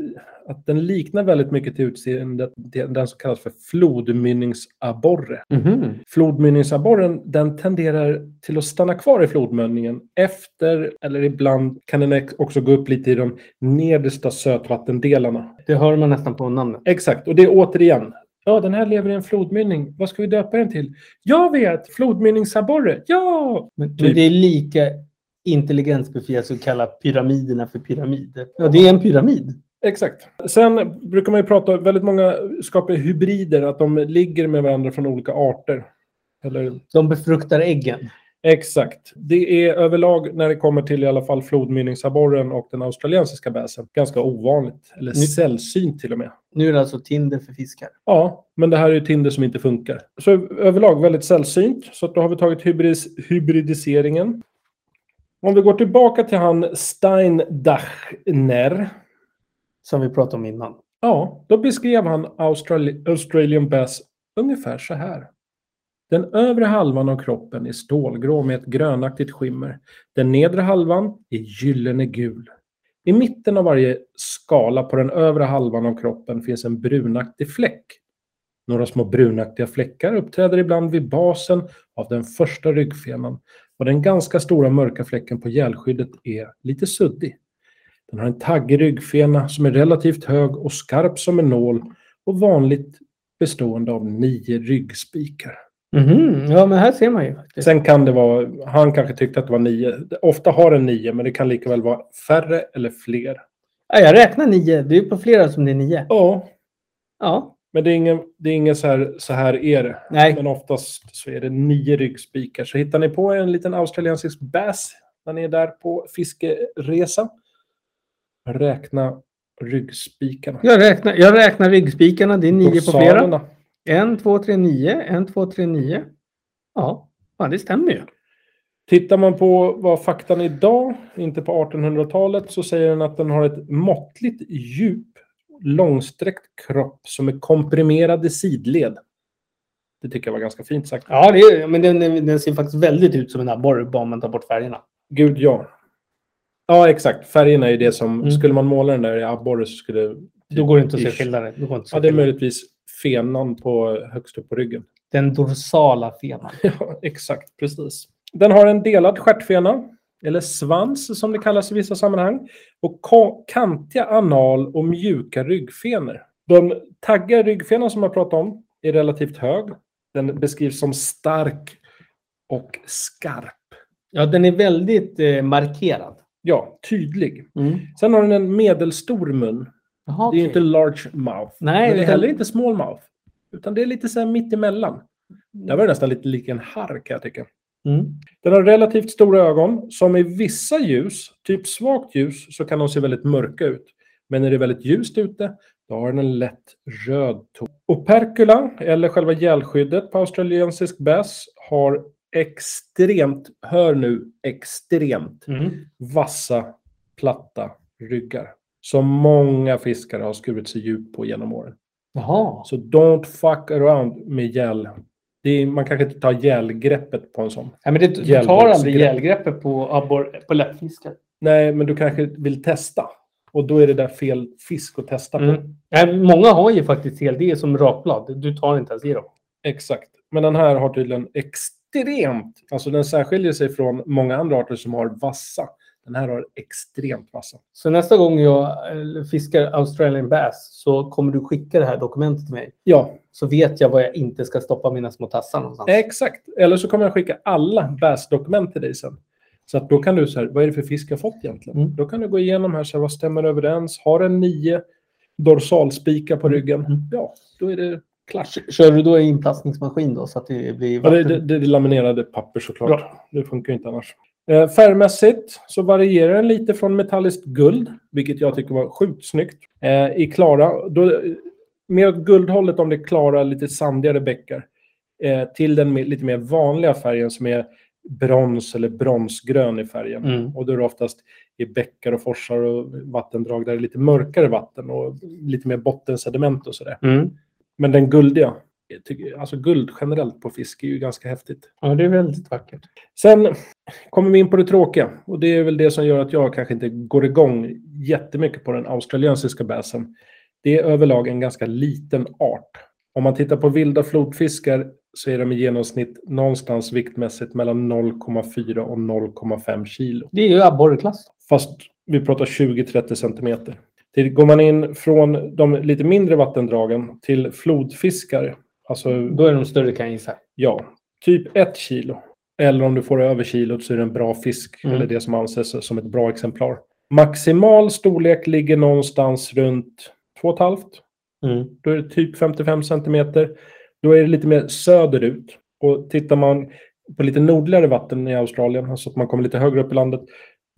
Speaker 2: att den liknar väldigt mycket till utseendet den som kallas för flodmynningsabborre.
Speaker 3: Mhm.
Speaker 2: Flodmynningsabborren den tenderar till att stanna kvar i flodmynningen efter, eller ibland kan den ex- också gå upp lite i de nedersta sötvattendelarna.
Speaker 3: Det hör man nästan på namnet.
Speaker 2: Exakt, och det är återigen. Ja, den här lever i en flodmynning. Vad ska vi döpa den till? Jag vet! Flodmynningsabborre! Ja!
Speaker 3: Men,
Speaker 2: Typ.
Speaker 3: det är lika intelligensbefriat som att kalla pyramiderna för pyramider. Ja, det är en pyramid.
Speaker 2: Exakt. Sen brukar man ju prata, väldigt många skapar hybrider, att de ligger med varandra från olika arter. Eller
Speaker 3: De befruktar äggen.
Speaker 2: Exakt. Det är överlag, när det kommer till i alla fall flodmynningsabborren och den australiensiska bäsen, ganska ovanligt. Eller
Speaker 3: Ni-
Speaker 2: sällsynt till och med.
Speaker 3: Nu är det alltså Tinder för fiskar.
Speaker 2: Ja, men det här är ju Tinder som inte funkar. Så överlag väldigt sällsynt. Så att då har vi tagit hybris, hybridiseringen. Om vi går tillbaka till han Steindachner.
Speaker 3: Som vi pratade om innan.
Speaker 2: Ja, då beskrev han Australi- Australian Bass ungefär så här. Den övre halvan av kroppen är stålgrå med ett grönaktigt skimmer. Den nedre halvan är gyllene gul. I mitten av varje skala på den övre halvan av kroppen finns en brunaktig fläck. Några små brunaktiga fläckar uppträder ibland vid basen av den första ryggfenan och den ganska stora mörka fläcken på gälskyddet är lite suddig. Den har en taggig ryggfena som är relativt hög och skarp som en nål och vanligt bestående av nio ryggspikar.
Speaker 3: Mhm. Ja, men här ser man ju. faktiskt.
Speaker 2: Sen kan det vara, han kanske tyckte att det var nio. Ofta har den nio, men det kan lika väl vara färre eller fler.
Speaker 3: Ja, jag räknar nio. Det är på flera som det är nio.
Speaker 2: Ja,
Speaker 3: Ja.
Speaker 2: men det är ingen, det är ingen så, här, så här är det.
Speaker 3: Nej.
Speaker 2: Men oftast så är det nio ryggspikar. Så hittar ni på en liten australiensisk bass när ni är där på fiskeresa, räkna ryggspikarna.
Speaker 3: Jag räknar, jag räknar ryggspikarna. Det är nio på flera.
Speaker 2: Dorsalerna.
Speaker 3: En, två, tre, nio. En, två, tre, nio. Ja, ja det stämmer ju.
Speaker 2: Tittar man på vad faktan är idag, inte på 1800-talet, så säger den att den har ett måttligt djup, långsträckt kropp som är komprimerad i sidled. Det tycker jag var ganska fint sagt.
Speaker 3: Ja, det är, men den, den ser faktiskt väldigt ut som en abborre bara om man tar bort färgerna.
Speaker 2: Gud, ja. Ja, exakt. Färgen är ju det som...
Speaker 3: Mm.
Speaker 2: Skulle man måla den där i abborre så skulle...
Speaker 3: Då går det inte att se
Speaker 2: Ish.
Speaker 3: skillnaden. Då går det inte att se
Speaker 2: Ja, det är
Speaker 3: skillnaden.
Speaker 2: möjligtvis fenan på, högst upp på ryggen.
Speaker 3: Den dorsala fenan.
Speaker 2: Ja, exakt. Precis. Den har en delad stjärtfena, eller svans som det kallas i vissa sammanhang, och ka- kantiga anal och mjuka ryggfenor. De taggiga ryggfenan som jag pratade om är relativt hög. Den beskrivs som stark och skarp.
Speaker 3: Ja, den är väldigt eh, markerad.
Speaker 2: Ja, tydlig.
Speaker 3: Mm.
Speaker 2: Sen har den en medelstor mun.
Speaker 3: Jaha,
Speaker 2: Det är ju inte
Speaker 3: okej.
Speaker 2: large mouth.
Speaker 3: Nej,
Speaker 2: men det är
Speaker 3: utan-
Speaker 2: heller inte small mouth. Utan det är lite så här mitt emellan. Där var det nästan lite lik en harr kan jag tycka.
Speaker 3: Mm.
Speaker 2: Den har relativt stora ögon som i vissa ljus, typ svagt ljus, så kan de se väldigt mörka ut. Men när det är väldigt ljust ute Då har den en lätt röd ton. Opercula, eller själva gällskyddet på australiensisk bäs, har extremt, hör nu, extremt
Speaker 3: Mm.
Speaker 2: vassa, platta ryggar. Som många fiskare har skurit sig djupt på genom åren.
Speaker 3: Jaha.
Speaker 2: Så don't fuck around med gäll. Det är, man kanske inte tar gällgreppet på en sån.
Speaker 3: Ja, men det du tar
Speaker 2: Gällborgsgrepp.
Speaker 3: aldrig gällgreppet på, abbor- på läppfiskar.
Speaker 2: Nej, men du kanske vill testa. Och då är det där fel fisk att testa på.
Speaker 3: Mm. Nej, Många har ju faktiskt hel det är som rakblad. Du tar inte ens i dem.
Speaker 2: Exakt. Men den här har tydligen extremt... Alltså den särskiljer sig från många andra arter som har vassa. Den här har extremt vassa.
Speaker 3: Så nästa gång jag eh, fiskar Australian bass så kommer du skicka det här dokumentet till mig.
Speaker 2: Ja,
Speaker 3: Så vet jag var jag inte ska stoppa mina små tassar någonstans.
Speaker 2: exakt. Eller så kommer jag skicka alla bäsdokument till dig sen. Så att då kan du så här, vad är det för fisk jag fått egentligen?
Speaker 3: Mm.
Speaker 2: Då kan du gå igenom här, så här, vad stämmer överens? Har den nio dorsalspikar på ryggen?
Speaker 3: Mm.
Speaker 2: Ja, då är det klart.
Speaker 3: Kör du då i inplastningsmaskin då så att det blir
Speaker 2: Ja,
Speaker 3: vatten?
Speaker 2: det, det, det är laminerade papper såklart.
Speaker 3: Bra.
Speaker 2: Det funkar ju inte annars. Eh, färgmässigt så varierar den lite från metalliskt guld, vilket jag tycker var sjukt snyggt, eh, i klara. Då, eh, mer åt guldhållet om det är klara, lite sandigare bäckar. Eh, till den mer, lite mer vanliga färgen som är brons eller bronsgrön i färgen.
Speaker 3: Mm.
Speaker 2: Och då är det oftast i bäckar och forsar och vattendrag där det är lite mörkare vatten och lite mer bottensediment och sådär.
Speaker 3: Mm.
Speaker 2: Men den guldiga, jag tycker- alltså guld generellt på fisk är ju ganska häftigt.
Speaker 3: ja, det är väldigt vackert.
Speaker 2: Sen kommer vi in på det tråkiga. Och det är väl det som gör att jag kanske inte går igång jättemycket på den australiensiska bäsen. Det är överlag en ganska liten art. Om man tittar på vilda flodfiskar så är de i genomsnitt någonstans viktmässigt mellan 0,4 och 0,5 kilo.
Speaker 3: Det är ju abborreklass.
Speaker 2: Fast vi pratar 20-30 centimeter. Det- Går man in från de lite mindre vattendragen till flodfiskar, alltså
Speaker 3: Då är de större kan jag gissa.
Speaker 2: Ja, typ ett kilo. Eller om du får över kilot så är det en bra fisk.
Speaker 3: Mm.
Speaker 2: Eller det som anses som ett bra exemplar. Maximal storlek ligger någonstans runt 2,5.
Speaker 3: Mm.
Speaker 2: Då är det typ 55 centimeter. Då är det lite mer söderut. Och tittar man på lite nordligare vatten i Australien, alltså att man kommer lite högre upp i landet,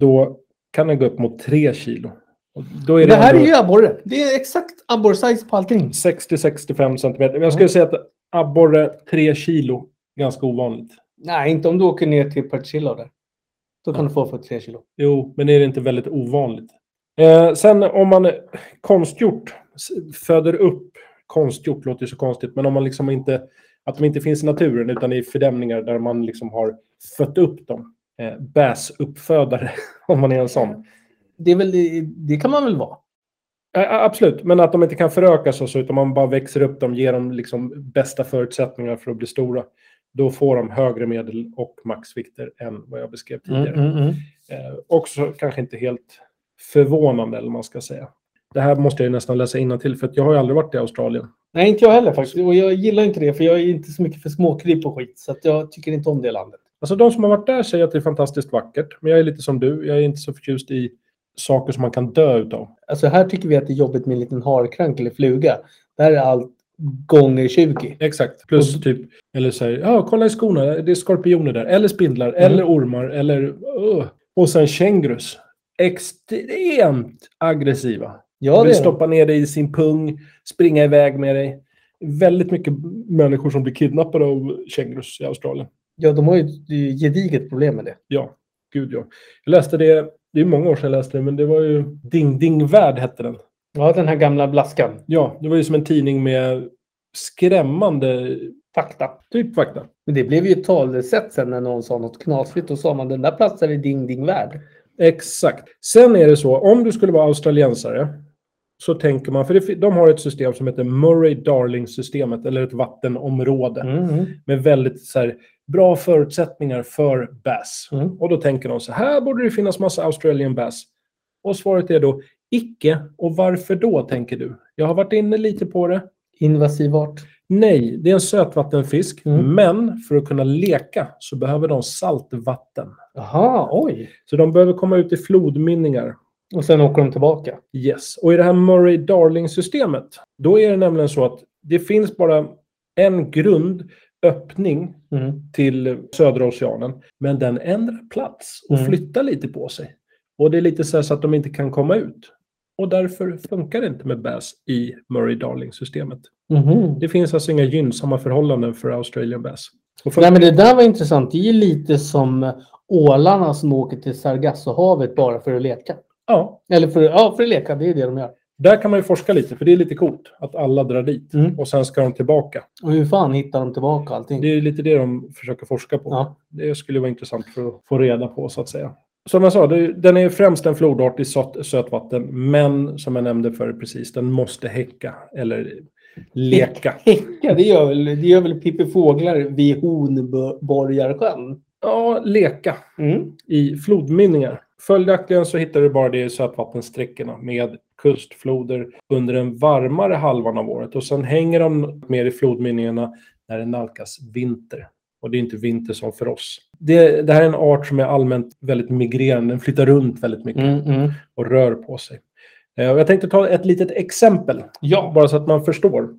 Speaker 2: då kan den gå upp mot 3 kilo. Och Då är
Speaker 3: Det
Speaker 2: det,
Speaker 3: här
Speaker 2: ändå-
Speaker 3: är ju abborre. Det är exakt abborrsize på allting.
Speaker 2: 60-65 centimeter. Men jag skulle säga att abborre 3 kilo, ganska ovanligt.
Speaker 3: Nej, inte om du åker ner till Partille där. Då kan du få för tre kilo.
Speaker 2: Jo, men är det inte väldigt ovanligt? Eh, sen om man eh, konstgjort s- föder upp, konstgjort låter ju så konstigt, men om man liksom inte, att de inte finns i naturen utan i fördämningar där man liksom har fött upp dem. Eh, Bäsuppfödare, om man är en sån.
Speaker 3: Det, är väl, det, det kan man väl vara?
Speaker 2: Eh, eh, absolut, men att de inte kan förökas och så, utan man bara växer upp dem, ger dem liksom bästa förutsättningar för att bli stora. Då får de högre medel och maxvikter än vad jag beskrev
Speaker 3: Mm.
Speaker 2: tidigare. Eh, också kanske inte helt förvånande, eller vad man ska säga. Det här måste jag ju nästan läsa till för att jag har ju aldrig varit i Australien.
Speaker 3: Nej, inte jag heller faktiskt. Och jag gillar inte det, för jag är inte så mycket för småkryp och skit. Så att jag tycker inte om det landet.
Speaker 2: Alltså de som har varit där säger att det är fantastiskt vackert, men jag är lite som du. Jag är inte så förtjust i saker som man kan dö utav.
Speaker 3: Alltså här tycker vi att det är jobbigt med en liten harkrank eller fluga. Där är allt gånger 20.
Speaker 2: Exakt. Plus typ, eller så här, ja, kolla i skorna, det är skorpioner där. Eller spindlar, eller ormar, eller... Öh. Och sen kängurus. Extremt aggressiva.
Speaker 3: Ja, det
Speaker 2: vill
Speaker 3: är det.
Speaker 2: stoppa ner dig i sin pung, springa iväg med dig. Väldigt mycket människor som blir kidnappade av kängurus i Australien.
Speaker 3: ja, de har ju ett det är ju ett gediget problem med det.
Speaker 2: Ja, gud ja. Jag läste det, det är många år sedan jag läste det, men det var ju Ding Ding Värld hette den.
Speaker 3: Ja, den här gamla blaskan.
Speaker 2: Ja, det var ju som en tidning med skrämmande
Speaker 3: Fakta.
Speaker 2: typ fakta.
Speaker 3: Men det blev ju ett talesätt sen när någon sa något knasigt. Då sa man den där platsar i ding ding värld.
Speaker 2: Exakt. Sen är det så, om du skulle vara australiensare så tänker man, för det, de har ett system som heter Murray-Darling-systemet, eller ett vattenområde.
Speaker 3: Mm.
Speaker 2: med väldigt så här, bra förutsättningar för bass.
Speaker 3: Mm.
Speaker 2: Och då tänker de så här borde det finnas massa Australian bass. Och svaret är då icke. Och varför då, tänker du? Jag har varit inne lite på det.
Speaker 3: Invasiv art.
Speaker 2: Nej, det är en sötvattenfisk.
Speaker 3: Mm.
Speaker 2: Men för att kunna leka så behöver de saltvatten.
Speaker 3: Jaha, oj.
Speaker 2: Så de behöver komma ut i flodmynningar.
Speaker 3: Och sen åker de tillbaka.
Speaker 2: Yes, och i det här Murray-Darling-systemet, då är det nämligen så att det finns bara en grundöppning
Speaker 3: Mm.
Speaker 2: till södra oceanen. Men den ändrar plats och
Speaker 3: Mm.
Speaker 2: flyttar lite på sig. Och det är lite så, här så att de inte kan komma ut. Och därför funkar det inte med bass i Murray-Darling-systemet.
Speaker 3: Mhm.
Speaker 2: Det finns alltså inga gynnsamma förhållanden för Australian bass. Och för-
Speaker 3: Nej, men det där var intressant. Det är ju lite som ålarna som åker till Sargassohavet bara för att leka.
Speaker 2: Ja,
Speaker 3: Eller för, ja, för att leka, det är det de gör.
Speaker 2: där kan man ju forska lite, för det är lite coolt att alla drar dit
Speaker 3: Mm.
Speaker 2: och sen ska de tillbaka.
Speaker 3: Och hur fan hittar de tillbaka allting?
Speaker 2: Det är ju lite det de försöker forska på.
Speaker 3: Ja.
Speaker 2: Det skulle vara intressant för att få reda på, så att säga. Som jag sa, det- den är ju främst en flodart i söt, sötvatten, men som jag nämnde för precis, den måste häcka eller leka.
Speaker 3: Häcka, det gör väl, det gör väl Pippi Fåglar vid Hornborgarsjön?
Speaker 2: Ja, leka
Speaker 3: Mm.
Speaker 2: i flodmynningar. Följaktligen så hittar du bara det i sötvattensträckorna med kustfloder under den varmare halvan av året och sen hänger de mer i flodmynningarna när det nalkas vinter. Och det är inte vinter som för oss. Det, det här är en art som är allmänt väldigt migrerande. Den flyttar runt väldigt mycket.
Speaker 3: Mm, mm.
Speaker 2: och rör på sig. Eh, och Jag tänkte ta ett litet exempel,
Speaker 3: Ja.
Speaker 2: bara så att man förstår.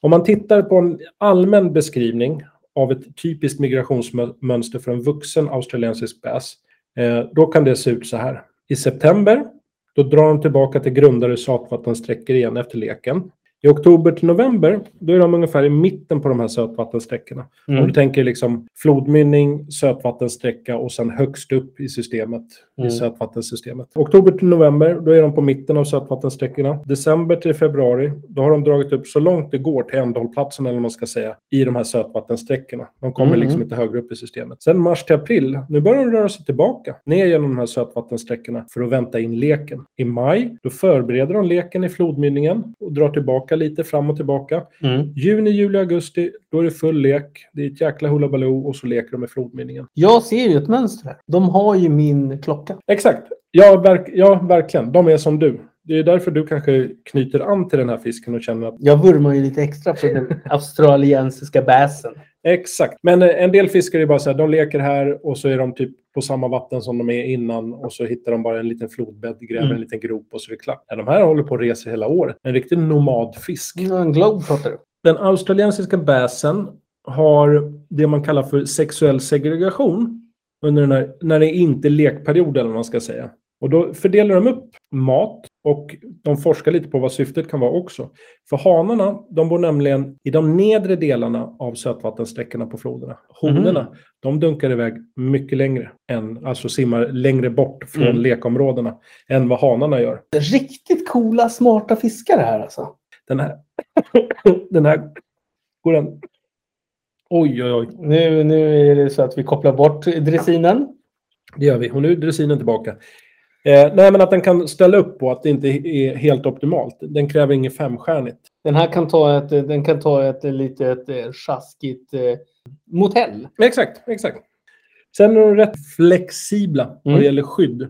Speaker 2: Om man tittar på en allmän beskrivning av ett typiskt migrationsmönster för en vuxen australiensisk bass, eh, då kan det se ut så här. I september, då drar de tillbaka till grundare sötvattensträckor igen efter leken. I oktober till november, då är de ungefär i mitten på de här sötvattensträckorna. Om
Speaker 3: Mm.
Speaker 2: du tänker liksom flodmynning, sötvattensträcka och sen högst upp i systemet,
Speaker 3: Mm.
Speaker 2: i sötvattensystemet. Oktober till november, då är de på mitten av sötvattensträckorna. December till februari, då har de dragit upp så långt det går till ändhållplatsen, eller vad man ska säga, i de här sötvattensträckorna. De kommer
Speaker 3: Mm.
Speaker 2: liksom inte högre upp i systemet. Sen mars till april, nu börjar de röra sig tillbaka ner genom de här sötvattensträckorna för att vänta in leken. I maj, då förbereder de leken i flodmynningen och drar tillbaka lite fram och tillbaka.
Speaker 3: Mm.
Speaker 2: Juni, juli, augusti, då är det full lek. Det är ett jäkla hullabaloo och så leker de med flodmynningen.
Speaker 3: Jag ser ju ett mönster här. De har ju min klocka.
Speaker 2: Exakt. Ja, verk, ja, verkligen. De är som du. Det är därför du kanske knyter an till den här fisken och känner att
Speaker 3: Jag vurmar ju lite extra för den australiensiska bassen.
Speaker 2: exakt. Men eh, en del fiskar är bara så här, de leker här och så är de typ på samma vatten som de är innan och så hittar de bara en liten flodbädd, gräver
Speaker 3: Mm.
Speaker 2: en liten grop och så är det klart. Ja, de här håller på och reser hela året. En riktig nomadfisk.
Speaker 3: Det var En globetrotter.
Speaker 2: Den australiensiska basen har det man kallar för sexuell segregation under den här, när det inte är lekperiod eller vad man ska säga. Och då fördelar de upp mat och de forskar lite på vad syftet kan vara också. För hanarna, de bor nämligen i de nedre delarna av sötvattensträckorna på floderna. Honorna, de dunkar iväg mycket längre, än, alltså simmar längre bort från
Speaker 3: Mm.
Speaker 2: lekområdena än vad hanarna gör.
Speaker 3: Riktigt coola, smarta fiskar här alltså.
Speaker 2: Den här, den här går den... Oj, oj, oj.
Speaker 3: Nu, nu är det så att vi kopplar bort dressinen.
Speaker 2: Det gör vi. Och nu är dressinen tillbaka. Eh, nej, men att den kan ställa upp på att det inte är helt optimalt. Den kräver inget femstjärnigt.
Speaker 3: Den här kan ta ett, den kan ta ett litet eh, sjaskigt eh, motell.
Speaker 2: Exakt, exakt. Sen är de rätt flexibla vad
Speaker 3: Mm.
Speaker 2: det gäller skydd.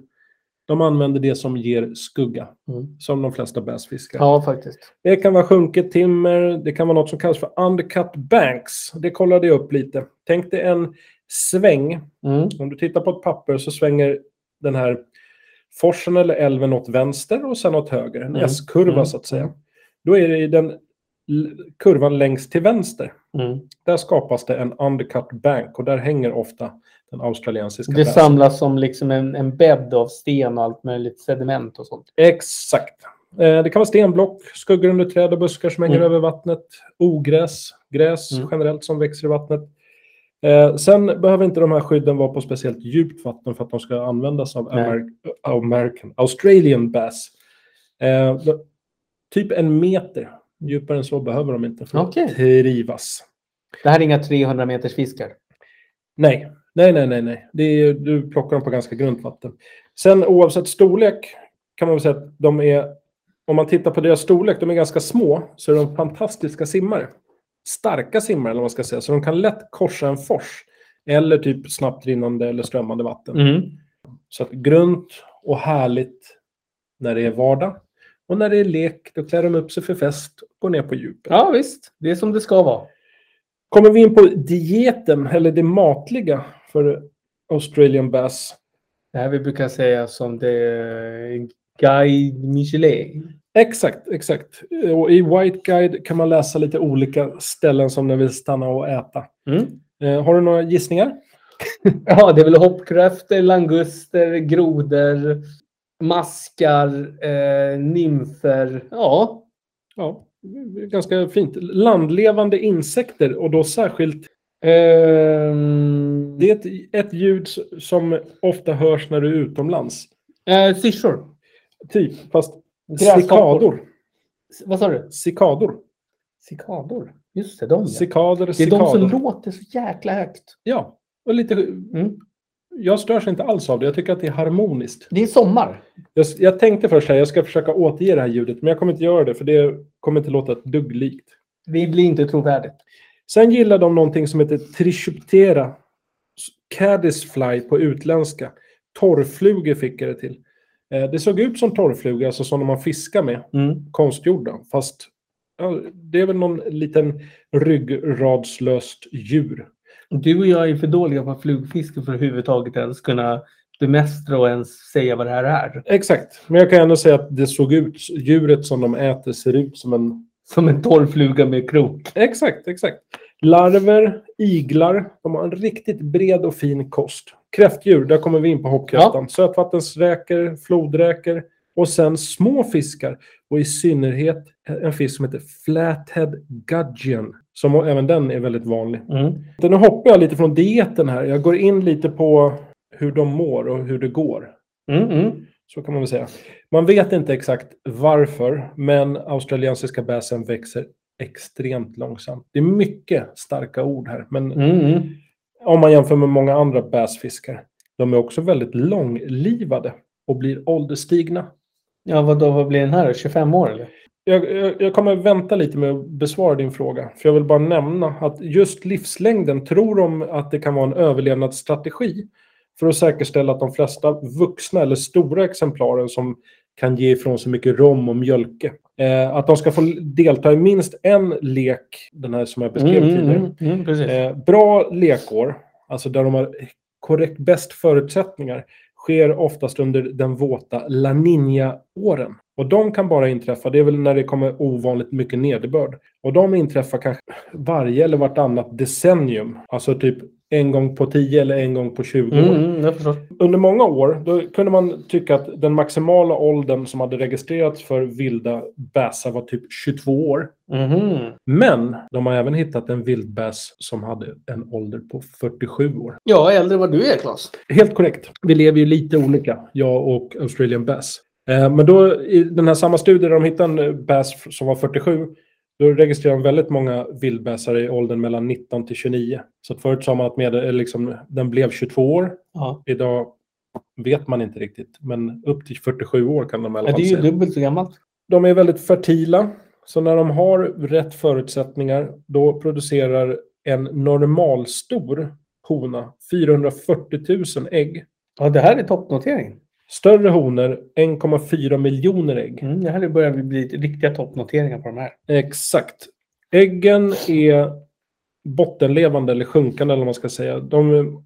Speaker 2: De använder det som ger skugga,
Speaker 3: Mm.
Speaker 2: som de flesta bäsfiskar.
Speaker 3: Ja, faktiskt.
Speaker 2: Det kan vara sjunket timmer, det kan vara något som kallas för undercut banks. Det kollade jag upp lite. Tänk dig en sväng
Speaker 3: Mm.
Speaker 2: Om du tittar på ett papper så svänger den här forsen eller älven åt vänster och sen åt höger. En
Speaker 3: Mm.
Speaker 2: S-kurva
Speaker 3: Mm.
Speaker 2: så att
Speaker 3: Mm.
Speaker 2: säga. Då är det i den l- kurvan längst till vänster.
Speaker 3: Mm.
Speaker 2: Där skapas det en undercut bank och där hänger ofta den australiensiska
Speaker 3: Det
Speaker 2: bassen.
Speaker 3: samlas som liksom en, en bädd av sten och allt möjligt sediment och sånt.
Speaker 2: Exakt. Eh, Det kan vara stenblock, skuggor under träd och buskar som hänger
Speaker 3: Mm.
Speaker 2: över vattnet, ogräs, gräs
Speaker 3: Mm.
Speaker 2: generellt som växer i vattnet. Eh, sen behöver inte de här skydden vara på speciellt djupt vatten för att de ska användas av
Speaker 3: Nej.
Speaker 2: Amer- American, Australian bass. Eh, de- typ en meter. Djupare än så behöver de inte för
Speaker 3: Okej.
Speaker 2: att trivas.
Speaker 3: Det här är inga 300 meters fiskar.
Speaker 2: Nej, nej, nej, nej. nej. Det är, du plockar dem på ganska grunt vatten. Sen oavsett storlek kan man väl säga att de är, om man tittar på deras storlek, de är ganska små, så är de fantastiska simmare. Starka simmare eller vad man ska säga, så de kan lätt korsa en fors eller typ snabbt rinnande eller strömmande vatten.
Speaker 3: Mm.
Speaker 2: Så att grunt och härligt när det är vardag. Och när det är lek, då klär de upp sig för fest och går ner på djupet.
Speaker 3: Ja, visst. Det är som det ska vara.
Speaker 2: Kommer vi in på dieten, eller det matliga för Australian Bass.
Speaker 3: Det här vi brukar säga som det eh, Guide Michelin.
Speaker 2: Exakt, exakt. Och I White Guide kan man läsa lite olika ställen som den vill stanna och äta.
Speaker 3: Mm.
Speaker 2: Eh, har du några gissningar?
Speaker 3: Ja, det är väl hoppkräftor, languster, grodor, maskar, eh, nymfer. Ja.
Speaker 2: Ja, ganska fint. Landlevande insekter och då särskilt... Ehm, det är ett, ett ljud s- som ofta hörs när du är utomlands.
Speaker 3: Eh, Syrsor.
Speaker 2: Typ, fast
Speaker 3: Gräshoppor.
Speaker 2: cikador.
Speaker 3: S- Vad sa du?
Speaker 2: Cikador.
Speaker 3: Cikador. Just det, de ja.
Speaker 2: Cikader,
Speaker 3: Det är de
Speaker 2: cikador.
Speaker 3: som låter så jäkla högt.
Speaker 2: Ja, och lite...
Speaker 3: Mm.
Speaker 2: Jag störs inte alls av det. Jag tycker att det är harmoniskt.
Speaker 3: Det är sommar.
Speaker 2: Jag, jag tänkte först att jag ska försöka återge det här ljudet, men jag kommer inte göra det för det kommer inte låta ett dugg likt.
Speaker 3: Det blir inte trovärdigt.
Speaker 2: Sen gillar de någonting som heter Trichoptera caddisfly på utländska. Torrflugor fick jag det till. Eh, Det såg ut som torrflugor, alltså sådana man fiskar med,
Speaker 3: Mm.
Speaker 2: konstgjorda. Fast ja, det är väl någon liten ryggradslöst djur.
Speaker 3: Du och jag är för dåliga på flugfiske för att överhuvudtaget ens kunna bemästra och ens säga vad det här är.
Speaker 2: Exakt, men jag kan ändå säga att det såg ut, djuret som de äter ser ut som en
Speaker 3: Som en torrfluga med krok.
Speaker 2: Exakt, exakt. Larver, iglar, de har en riktigt bred och fin kost. Kräftdjur, där kommer vi in på hoppkräftan. Sötvattensräkor, flodräkor och sen små fiskar. Och i synnerhet en fisk som heter flathead gudgeon. Som även den är väldigt vanlig.
Speaker 3: Mm.
Speaker 2: Nu hoppar jag lite från dieten här. Jag går in lite på hur de mår och hur det går.
Speaker 3: Mm, mm.
Speaker 2: Så kan man väl säga. Man vet inte exakt varför, men australiensiska bäsen växer extremt långsamt. Det är mycket starka ord här, men
Speaker 3: Mm, mm.
Speaker 2: om man jämför med många andra bäsfiskar, de är också väldigt långlivade och blir ålderstigna.
Speaker 3: Ja, vad, då, vad blir den här då? 25 år eller?
Speaker 2: Jag, jag, jag kommer vänta lite med att besvara din fråga, för jag vill bara nämna att just livslängden tror de att det kan vara en överlevnadsstrategi för att säkerställa att de flesta vuxna eller stora exemplaren som kan ge ifrån sig mycket rom och mjölke, eh, att de ska få delta i minst en lek, den här som jag beskrev tidigare,
Speaker 3: mm, precis.
Speaker 2: Eh, bra lekår, alltså där de har korrekt bäst förutsättningar, sker oftast under den våta La Niña-åren. Och de kan bara inträffa, det är väl när det kommer ovanligt mycket nederbörd. Och de inträffar kanske varje eller vartannat decennium. Alltså typ en gång på 10 eller en gång på 20
Speaker 3: Mm,
Speaker 2: år.
Speaker 3: mm, jag förstår.
Speaker 2: Under många år då kunde man tycka att den maximala åldern som hade registrerats för vilda bäsar var typ 22 år.
Speaker 3: Mhm.
Speaker 2: Men de har även hittat en vildbäs som hade en ålder på 47 år.
Speaker 3: Ja, äldre än vad du är, Claes.
Speaker 2: Helt korrekt. Vi lever ju lite olika, jag och Australian Bass. Eh, Men då i den här samma studien där de hittade en eh, bass f- som var 47, då registrerade de väldigt många vildbäsar i åldern mellan 19 till 29. Så att förut sa man att med, eh, liksom, den blev 22 år.
Speaker 3: Ja.
Speaker 2: Idag vet man inte riktigt, men upp till 47 år kan de i alla
Speaker 3: Ja,
Speaker 2: fall
Speaker 3: det är ju
Speaker 2: säga.
Speaker 3: dubbelt så gammalt.
Speaker 2: De är väldigt fertila, så när de har rätt förutsättningar då producerar en normalstor hona 440 000 ägg.
Speaker 3: Ja, det här är toppnoteringen.
Speaker 2: Större honor 1,4 miljoner ägg.
Speaker 3: Mm, det här börjar bli riktiga toppnoteringar på de här.
Speaker 2: Exakt. Äggen är bottenlevande eller sjunkande eller vad man ska säga. De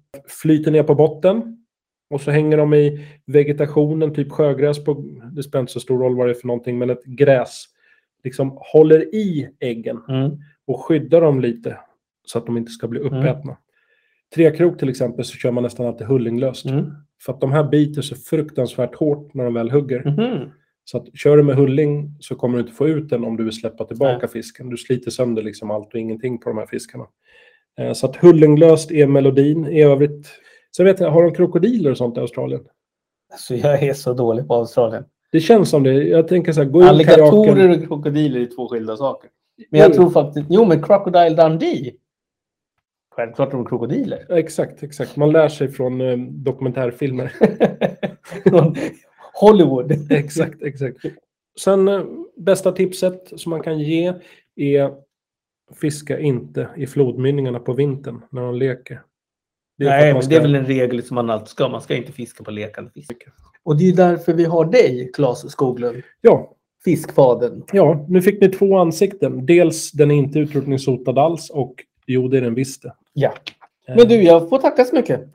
Speaker 2: flyter ner på botten och så hänger de i vegetationen, typ sjögräs. På, det spelar inte så stor roll vad det är för någonting, men ett gräs liksom håller i äggen.
Speaker 3: Mm,
Speaker 2: och skydda dem lite så att de inte ska bli uppätna. Trekrok till exempel så kör man nästan alltid hullinglöst.
Speaker 3: Mm.
Speaker 2: För att de här biter så fruktansvärt hårt när de väl hugger.
Speaker 3: Mhm.
Speaker 2: Så att kör du med hulling så kommer du inte få ut den om du vill släppa tillbaka
Speaker 3: Nej.
Speaker 2: fisken. Du sliter sönder liksom allt och ingenting på de här fiskarna. Eh, Så att hullinglöst är melodin i övrigt. Sen vet jag, har de krokodiler och sånt i Australien?
Speaker 3: Alltså, jag är så dålig på Australien.
Speaker 2: Det känns som det. Jag tänker så här, gå ut kajaken.
Speaker 3: Alligatorer och krokodiler är två skilda saker. Men jag
Speaker 2: Mm.
Speaker 3: tror faktiskt... Jo, men Crocodile Dundee. Självklart är de krokodiler.
Speaker 2: Exakt, exakt. Man lär sig från eh, dokumentärfilmer.
Speaker 3: Från Hollywood.
Speaker 2: Exakt, exakt. Sen eh, bästa tipset som man kan ge är fiska inte i flodmynningarna på vintern när de leker. Det är för att
Speaker 3: Nej,
Speaker 2: man
Speaker 3: men det är
Speaker 2: ska-
Speaker 3: väl en regel som man alltid ska. Man ska inte fiska på lekande fisk. Och det är ju därför vi har dig, Claes Skoglund.
Speaker 2: Ja,
Speaker 3: Fiskfaden.
Speaker 2: ja, nu fick ni två ansikten. Dels den är inte utrotningshotad alls och jo, det är den visst det.
Speaker 3: Ja.
Speaker 2: Eh,
Speaker 3: Men du, jag får tacka så mycket.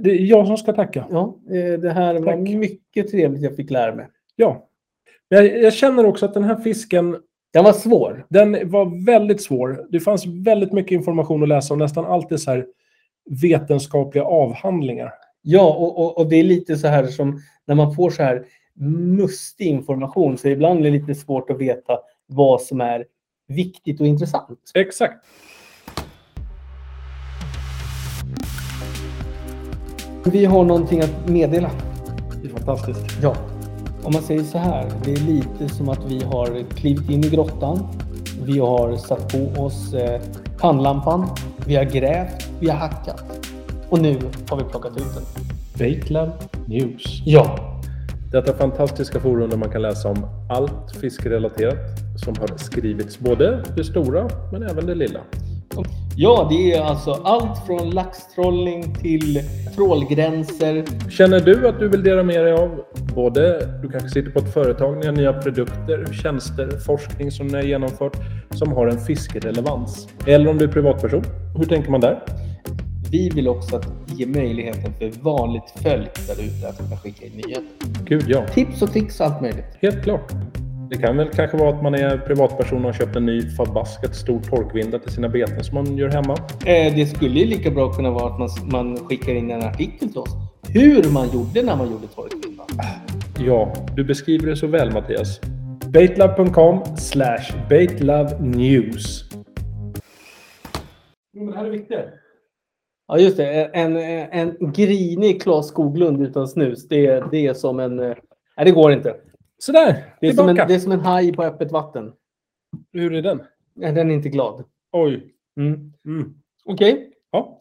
Speaker 2: Det är jag som ska tacka.
Speaker 3: Ja, eh, det här var
Speaker 2: Tack.
Speaker 3: mycket trevligt jag fick lära mig.
Speaker 2: Ja. Men Jag, jag känner också att den här fisken
Speaker 3: Den var svår.
Speaker 2: Den var väldigt svår. Det fanns väldigt mycket information att läsa och nästan allt är så här vetenskapliga avhandlingar.
Speaker 3: Ja, och, och, och det är lite så här som när man får så här mustig information så ibland är det lite svårt att veta vad som är viktigt och intressant.
Speaker 2: Exakt.
Speaker 3: Vi har någonting att meddela.
Speaker 2: Det är fantastiskt.
Speaker 3: Ja. Om man säger så här, det är lite som att vi har klivit in i grottan. Vi har satt på oss eh, pannlampan. Vi har grävt. Vi har hackat. Och nu har vi plockat ut den.
Speaker 2: Batelab News.
Speaker 3: Ja.
Speaker 2: Detta fantastiska forum där man kan läsa om allt fiskerelaterat som har skrivits, både det stora men även det lilla.
Speaker 3: Ja, det är alltså allt från laxtrollning till trålgränser.
Speaker 2: Känner du att du vill dela med dig av både, du kanske sitter på ett företag, ni har nya produkter, tjänster, forskning som ni har genomfört som har en fiskerelevans? Eller om du är privatperson, hur tänker man där?
Speaker 3: Vi vill också att ge möjligheten för vanligt folk där ute att kunna skicka in nyheter.
Speaker 2: Gud ja,
Speaker 3: Tips och tricks och allt möjligt.
Speaker 2: helt klart. Det kan väl kanske vara att man är privatperson och har köpt en ny förbaskat stor torkvinda till sina beten som man gör hemma.
Speaker 3: Eh, det skulle ju lika bra kunna vara att man, man skickar in en artikel till oss. Hur man gjorde när man gjorde torkbindan.
Speaker 2: Ja, du beskriver det så väl Mattias. Baitlove.com slash baitlovenews. Jo, men det här är viktigt.
Speaker 3: Ja, just det. Eh, En, en grinig Klas Skoglund utan snus. Det, är- det är som en... eh, Nej, det går inte.
Speaker 2: Sådär,
Speaker 3: Det är, som en,
Speaker 2: tillbaka.
Speaker 3: det är som en haj på öppet vatten.
Speaker 2: Hur är den?
Speaker 3: Nej, Den är inte glad.
Speaker 2: Oj.
Speaker 3: Mm.
Speaker 2: Mm.
Speaker 3: Okej.
Speaker 2: Ja.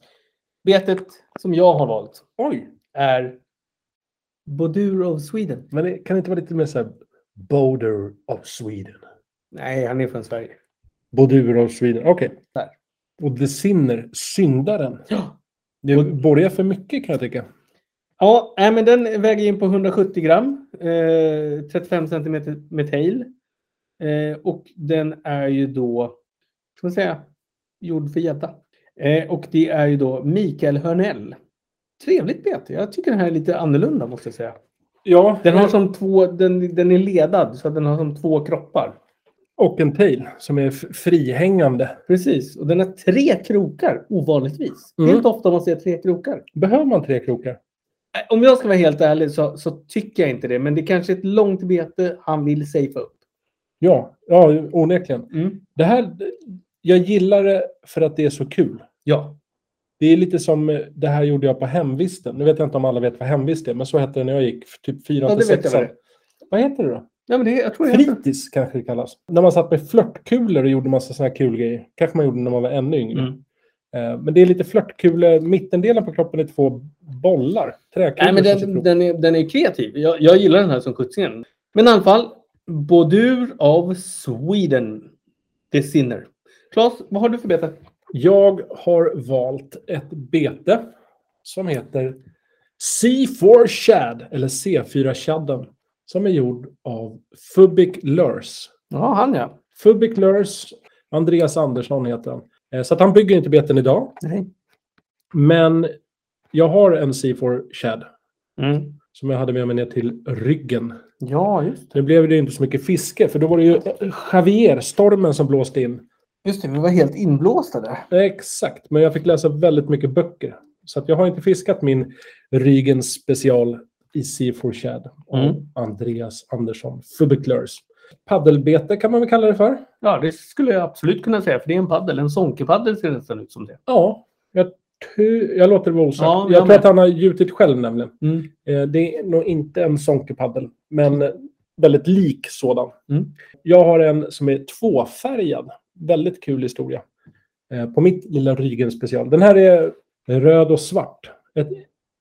Speaker 3: Betet som jag har valt
Speaker 2: Oj.
Speaker 3: är Bodur of Sweden.
Speaker 2: Men det kan inte vara lite mer såhär Border of Sweden?
Speaker 3: Nej, han är från Sverige.
Speaker 2: Bordur of Sweden. Okej.
Speaker 3: Där.
Speaker 2: Och The Sinner, syndaren.
Speaker 3: Ja.
Speaker 2: Det borgar för mycket kan jag tycka.
Speaker 3: Ja, nej, men den väger in på 170 gram, eh, 35 centimeter med tail. Eh, och den är ju då, ska man säga, gjord för gädda. Eh, och det är ju då Mikael Hörnell. Trevligt bete. Jag tycker den här är lite annorlunda måste jag säga.
Speaker 2: Ja.
Speaker 3: Den har som två, den, den är ledad så att den har som två kroppar.
Speaker 2: Och en tail som är f- frihängande.
Speaker 3: Precis, och den har tre krokar ovanligtvis. Det är
Speaker 2: Mm.
Speaker 3: inte ofta man ser tre krokar.
Speaker 2: Behöver man tre krokar?
Speaker 3: Nej, Eh, Om jag ska vara helt ärlig så, så tycker jag inte det. Men det kanske är ett långt bete han vill safea upp.
Speaker 2: Ja, ja onekligen.
Speaker 3: Mm.
Speaker 2: Det här, jag gillar det för att det är så kul.
Speaker 3: Ja.
Speaker 2: Det är lite som eh, det här gjorde jag på hemvisten. Nu vet jag inte om alla vet vad hemvist är, men så hette det när jag gick f- typ
Speaker 3: Ja,
Speaker 2: fyran
Speaker 3: det
Speaker 2: till
Speaker 3: vet jag
Speaker 2: sexan.
Speaker 3: vad det är.
Speaker 2: Vad heter det då?
Speaker 3: Ja, men det, jag tror det heter-
Speaker 2: Fritids kanske det kallas. När man satt med flörtkulor och gjorde massa såna här kul grejer. Kanske man gjorde när man var ännu yngre.
Speaker 3: Mm.
Speaker 2: Eh, Men det är lite flörtkulor. Mittendelen på kroppen är två bollar. Träkulor.
Speaker 3: Nej,
Speaker 2: som
Speaker 3: men
Speaker 2: sitter
Speaker 3: den,
Speaker 2: ihop.
Speaker 3: den, är, den är kreativ. Jag, jag gillar den här som sjuttsingen. Men i alla fall, Bodur av Sweden. The Sinner. Claes, vad har du för bete?
Speaker 2: Jag har valt ett bete som heter C4 Shad, eller C4 Shadden, som är gjord av Fubic Lurs.
Speaker 3: Ja, han ja.
Speaker 2: Fubic Lurs, Andreas Andersson heter han. Eh, Så att han bygger inte beten idag,
Speaker 3: Nej.
Speaker 2: men jag har en C4 Shad
Speaker 3: Mm.
Speaker 2: som jag hade med mig ner till ryggen.
Speaker 3: Ja, just
Speaker 2: Nu blev det ju inte så mycket fiske, för då var det ju Javier, stormen, som blåste in.
Speaker 3: Just det, vi var helt inblåsta där.
Speaker 2: Exakt, men jag fick läsa väldigt mycket böcker. Så att jag har inte fiskat min Rygens special i Sea for Shad av
Speaker 3: Mm.
Speaker 2: Andreas Andersson Fubiklers. Paddelbete kan man väl kalla det för?
Speaker 3: Ja, det skulle jag absolut kunna säga. För det är en paddel. En sonkepaddel ser det nästan ut som det.
Speaker 2: Ja, jag, ty- jag låter det vara osagt.
Speaker 3: Ja, jag
Speaker 2: jag tror
Speaker 3: med. Mm.
Speaker 2: att han har gjutit själv nämligen. Eh, Det är nog inte en sonkepaddel, men väldigt lik sådan.
Speaker 3: Mm.
Speaker 2: Jag har en som är tvåfärgad. Väldigt kul historia. Eh, På mitt lilla Rygen special. Den här är röd och svart. Ett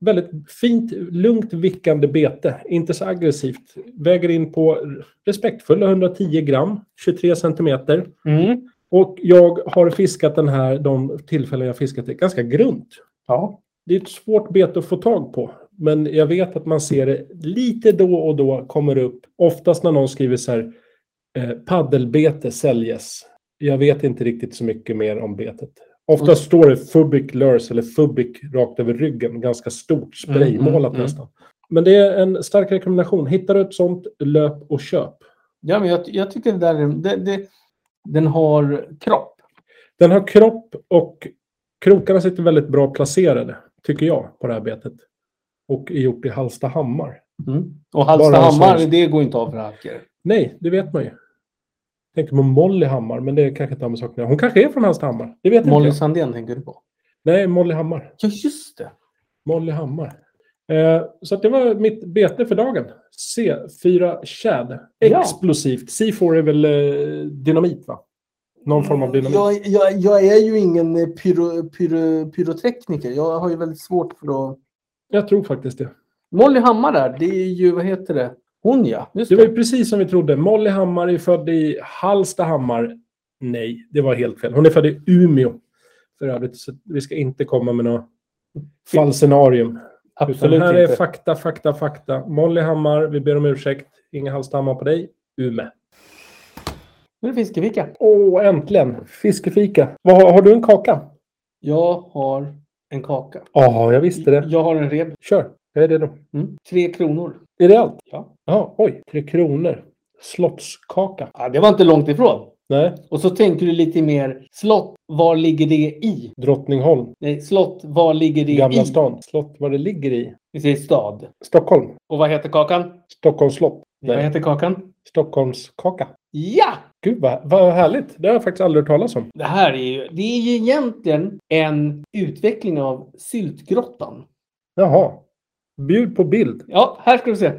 Speaker 2: väldigt fint, lugnt vickande bete. Inte så aggressivt. Väger in på respektfulla 110 gram, 23 centimeter.
Speaker 3: Mm.
Speaker 2: Och jag har fiskat den här de tillfällen jag fiskat det ganska grunt.
Speaker 3: Ja.
Speaker 2: Det är ett svårt bete att få tag på. Men jag vet att man ser det lite då och då kommer det upp. Oftast när någon skriver så här, eh, paddelbete säljes. Jag vet inte riktigt så mycket mer om betet. Oftast
Speaker 3: Mm.
Speaker 2: står det Fubic Lurs eller Fubic rakt över ryggen. Ganska stort,
Speaker 3: Mm,
Speaker 2: spraymålat
Speaker 3: mm,
Speaker 2: nästan. Men det är en stark rekommendation. Hittar du ett sånt, löp och köp.
Speaker 3: ja, men jag, jag tycker det där är- det, det, Den har kropp.
Speaker 2: Den har kropp och krokarna sitter väldigt bra placerade, tycker jag, på det här betet. Och är gjort i Hallstahammar.
Speaker 3: Mm. Och
Speaker 2: Bara en
Speaker 3: Hallstahammar,
Speaker 2: sån-
Speaker 3: det går inte av för hacker.
Speaker 2: Nej, det vet man ju. Jag tänker på Molly Hammar, men det är kanske inte har med saken att göra. Hon kanske är från Hallstahammar. Det vet
Speaker 3: Molly
Speaker 2: inte
Speaker 3: Sandén tänker du på?
Speaker 2: jag. Nej, Molly Hammar.
Speaker 3: Ja, just det.
Speaker 2: Molly Hammar. Eh, så att det var mitt bete för dagen. C4 Chad.
Speaker 3: Ja.
Speaker 2: Explosivt. C4 är väl eh, dynamit, va? Någon form av dynamit.
Speaker 3: Jag, jag, jag är ju ingen eh, pyro, pyro, pyrotekniker. Jag har ju väldigt svårt för att...
Speaker 2: Jag tror faktiskt det.
Speaker 3: Molly Hammar där, det är ju, vad heter det? Hon ja. Just
Speaker 2: Det var ju precis som vi trodde. Molly Hammar är född i Hallstahammar. Nej, det var helt fel. Hon är född i Umeå. För övrigt, så vi ska inte komma med några fallscenarium. Utan här är fakta, fakta, fakta. Molly Hammar, vi ber om ursäkt. Inga Hallstahammar på dig. Ume.
Speaker 3: Nu är det fiskevika.
Speaker 2: Åh, äntligen! Fiskefika. Vad, har- har du en kaka?
Speaker 3: Jag har en kaka.
Speaker 2: Ja, jag visste det.
Speaker 3: Jag har en reb.
Speaker 2: Kör, jag är redo.
Speaker 3: Mm. Tre kronor.
Speaker 2: Är det allt?
Speaker 3: Ja.
Speaker 2: Ja, oj. Tre kronor. Slottskaka.
Speaker 3: ja. Det var inte långt ifrån.
Speaker 2: Nej,
Speaker 3: Och så tänker du lite mer slott. Var ligger det i?
Speaker 2: Drottningholm.
Speaker 3: Nej, slott. Var ligger det i?
Speaker 2: Gamla stan. Slott, vad det ligger i.
Speaker 3: Vi säger stad.
Speaker 2: Stockholm.
Speaker 3: Och vad heter kakan?
Speaker 2: Stockholms slott.
Speaker 3: Vad
Speaker 2: Nej,
Speaker 3: heter kakan?
Speaker 2: Stockholmskaka.
Speaker 3: Ja!
Speaker 2: Gud, vad, vad härligt. Det har jag faktiskt aldrig hört talas om.
Speaker 3: Det här är ju, det är ju egentligen en utveckling av syltgrottan.
Speaker 2: Jaha. Bjud på bild.
Speaker 3: Ja, här ska du se.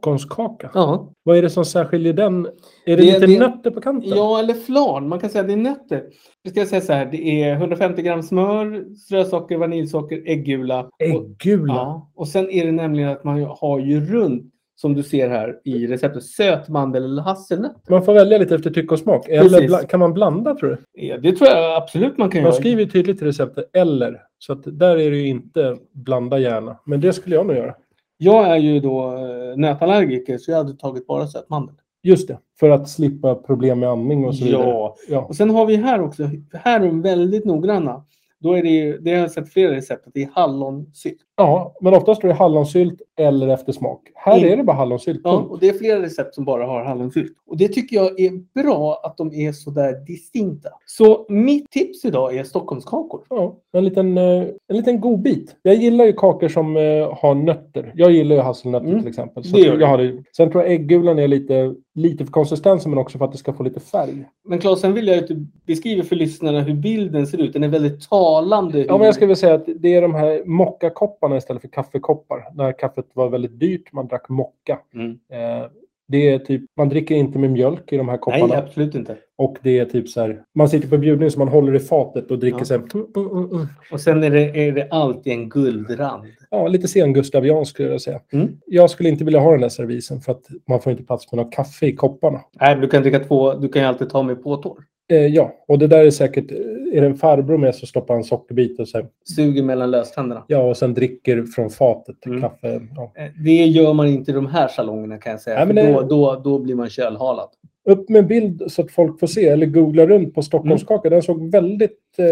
Speaker 2: Stockholmskaka.
Speaker 3: Ja.
Speaker 2: Vad är det som särskiljer den? Är det,
Speaker 3: Det-
Speaker 2: lite
Speaker 3: det-
Speaker 2: nötter på kanten?
Speaker 3: ja, eller flan. Man kan säga att det är nötter. Jag ska säga så här, det är 150 gram smör, strösocker, vaniljsocker, äggula. Och,
Speaker 2: Äggula.
Speaker 3: ja, och sen är det nämligen att man ju- har ju runt, som du ser här i receptet, sötmandel eller hasselnöt.
Speaker 2: Man får välja lite efter tycke och smak. Eller
Speaker 3: Precis.
Speaker 2: bla, kan man blanda tror du?
Speaker 3: Ja, det tror jag absolut man kan
Speaker 2: Man
Speaker 3: göra.
Speaker 2: skriver ju tydligt i receptet eller. Så att där är det ju inte blanda gärna. Men det skulle jag nog göra.
Speaker 3: Jag är ju då eh, nötallergiker så jag hade tagit bara sötmandel.
Speaker 2: Just det. För att slippa problem med andning och så vidare.
Speaker 3: Ja,
Speaker 2: ja.
Speaker 3: Och sen har vi här också, här är de väldigt noggranna. Då är det ju, det har jag sett flera recept, att det är hallonsylt.
Speaker 2: Ja, men oftast står det hallonsylt eller efter smak. Här
Speaker 3: Mm.
Speaker 2: är det bara hallonsylt.
Speaker 3: Ja, och det är flera recept som bara har hallonsylt. Och det tycker jag är bra att de är så där distinkta. Så mitt tips idag är Stockholmskakor.
Speaker 2: Ja, en liten, eh, en liten god bit. Jag gillar ju kakor som eh, har nötter. Jag gillar ju hasselnötter
Speaker 3: Mm,
Speaker 2: till exempel.
Speaker 3: det
Speaker 2: att
Speaker 3: gör du.
Speaker 2: jag har det. Sen tror jag äggulan är lite, lite för konsistensen men också för att det ska få lite färg.
Speaker 3: Men Claes, sen vill jag ju att du beskriver för lyssnarna hur bilden ser ut. Den är väldigt talande.
Speaker 2: Ja, men jag skulle vilja säga att det är de här mockakopparna istället för kaffekoppar. När kaffet var väldigt dyrt, man drack mocka.
Speaker 3: Mm.
Speaker 2: Eh, det är typ, man dricker inte med mjölk i de här kopparna.
Speaker 3: Nej, absolut inte.
Speaker 2: Och det är typ så här, man sitter på bjudning så man håller i fatet och dricker
Speaker 3: Ja.
Speaker 2: så här. mm, mm, mm, mm.
Speaker 3: Och sen är det, är det alltid en guldrand.
Speaker 2: Ja, lite sengustaviansk skulle jag säga.
Speaker 3: Mm.
Speaker 2: Jag skulle inte vilja ha den där servisen för att man får inte plats med något kaffe i kopparna.
Speaker 3: Nej, men du kan dricka två, du kan ju alltid ta med påtår.
Speaker 2: Eh, ja, och det där är säkert, eh, är det en farbror med så stoppar han sockerbit och sen,
Speaker 3: Suger mellan löständerna.
Speaker 2: ja, och sen dricker från fatet
Speaker 3: Mm.
Speaker 2: kaffe. Ja.
Speaker 3: Eh, Det gör man inte i de här salongerna kan jag säga.
Speaker 2: Nej,
Speaker 3: för
Speaker 2: men det-
Speaker 3: då, då, då blir man kölhalad.
Speaker 2: Upp med en bild så att folk får se, eller googla runt på Stockholmskaka. Den såg väldigt... Eh,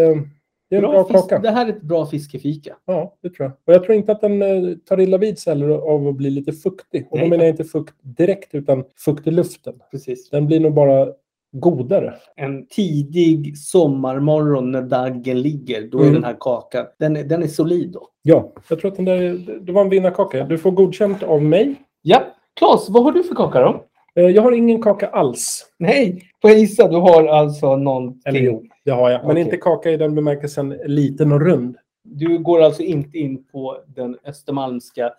Speaker 2: det är en bra,
Speaker 3: Mm. fisk-
Speaker 2: kaka.
Speaker 3: Det här är ett bra fiskefika.
Speaker 2: Ja, det tror jag. Och jag tror inte att den eh, tar illa vid sig heller av att bli lite fuktig. Och då
Speaker 3: Nej.
Speaker 2: menar jag inte fukt direkt, utan fukt i luften.
Speaker 3: Precis.
Speaker 2: Den blir nog bara godare.
Speaker 3: En tidig sommarmorgon när daggen ligger, då är
Speaker 2: Mm.
Speaker 3: den här kakan, den är, den är solid då.
Speaker 2: Ja, jag tror att den där, det var en vinnarkaka. Du får godkänt av mig.
Speaker 3: Ja. Claes, vad har du för kaka då?
Speaker 2: Eh, Jag har ingen kaka alls.
Speaker 3: Nej, får jag gissa? Du har alltså någonting.
Speaker 2: Eller jo, det har jag. Men
Speaker 3: Okej.
Speaker 2: inte kaka i den bemärkelsen liten och rund.
Speaker 3: Du går alltså inte in på den östermalmska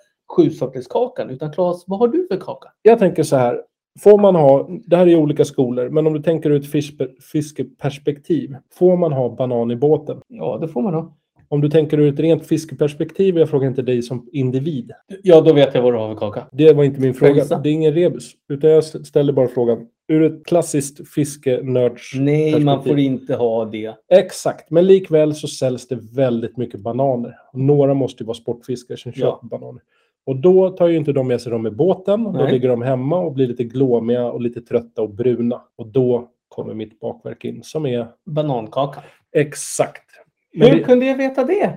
Speaker 3: sjusorterskakan, utan Claes, vad har du för kaka?
Speaker 2: Jag tänker så här. Får man ha, det här är ju olika skolor, men om du tänker ut fispe- fiskeperspektiv. Får man ha banan i båten?
Speaker 3: Ja, det får man ha.
Speaker 2: Om du tänker ur ett rent fiskeperspektiv, jag frågar inte dig som individ.
Speaker 3: Ja, då vet jag vad du har för kaka.
Speaker 2: Det var inte min
Speaker 3: Får jag
Speaker 2: fråga.
Speaker 3: gissa?
Speaker 2: Det är ingen rebus. Utan jag ställer bara frågan. Ur ett klassiskt fiskenörds...
Speaker 3: Nej, man
Speaker 2: Perspektiv.
Speaker 3: får inte ha det.
Speaker 2: Exakt, men likväl så säljs det väldigt mycket bananer. Några måste ju vara sportfiskare som
Speaker 3: Ja.
Speaker 2: köper bananer. Och då tar ju inte de med sig dem i båten. Då
Speaker 3: Nej.
Speaker 2: ligger de hemma och blir lite glåmiga och lite trötta och bruna. Och då kommer mitt bakverk in som är
Speaker 3: Banankaka.
Speaker 2: exakt. Men
Speaker 3: Hur
Speaker 2: det,
Speaker 3: kunde jag veta det?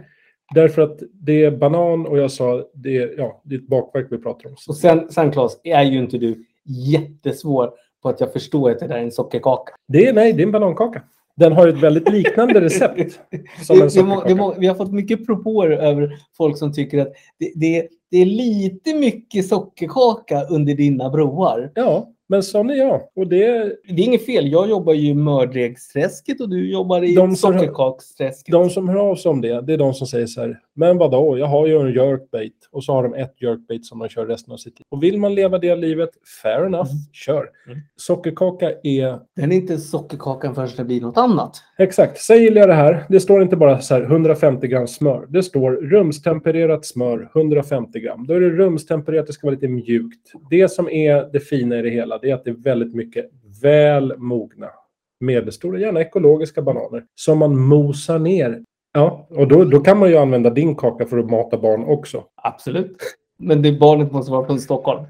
Speaker 2: därför att det är banan och jag sa det är, ja, det är ett bakverk vi pratar om.
Speaker 3: Och sen, sen Claes, är ju inte du jättesvår på att jag förstår att det där är en sockerkaka.
Speaker 2: Det är, nej, det är en banankaka. Den har ju ett väldigt liknande recept som en
Speaker 3: Det, det, må, det
Speaker 2: sockerkaka.
Speaker 3: må, vi har fått mycket propåer över folk som tycker att det, det, det är lite mycket sockerkaka under dina broar.
Speaker 2: Ja, men sån är jag. Och det,
Speaker 3: Det är inget fel. Jag jobbar ju i mördegsträsket och du jobbar i
Speaker 2: De som-
Speaker 3: sockerkaksträsket.
Speaker 2: de som hör av sig om det, det är de som säger så här, men vadå, jag har ju en jerkbait. Och så har de ett jerkbait som de kör resten av sitt liv. Och vill man leva det livet, fair enough, kör.
Speaker 3: Mm.
Speaker 2: Sockerkaka är
Speaker 3: Den är inte sockerkakan förrän det blir något annat.
Speaker 2: Exakt. Sen gillar jag det här. Det står inte bara så här 150 gram smör. Det står rumstempererat smör 150 gram. Då är det rumstempererat, det ska vara lite mjukt. Det som är det fina i det hela det är att det är väldigt mycket väl mogna medelstora, gärna ekologiska bananer som man mosar ner. Ja, och då, då kan man ju använda din kaka för att mata barn också.
Speaker 3: Absolut. Men det barnet måste vara från Stockholm.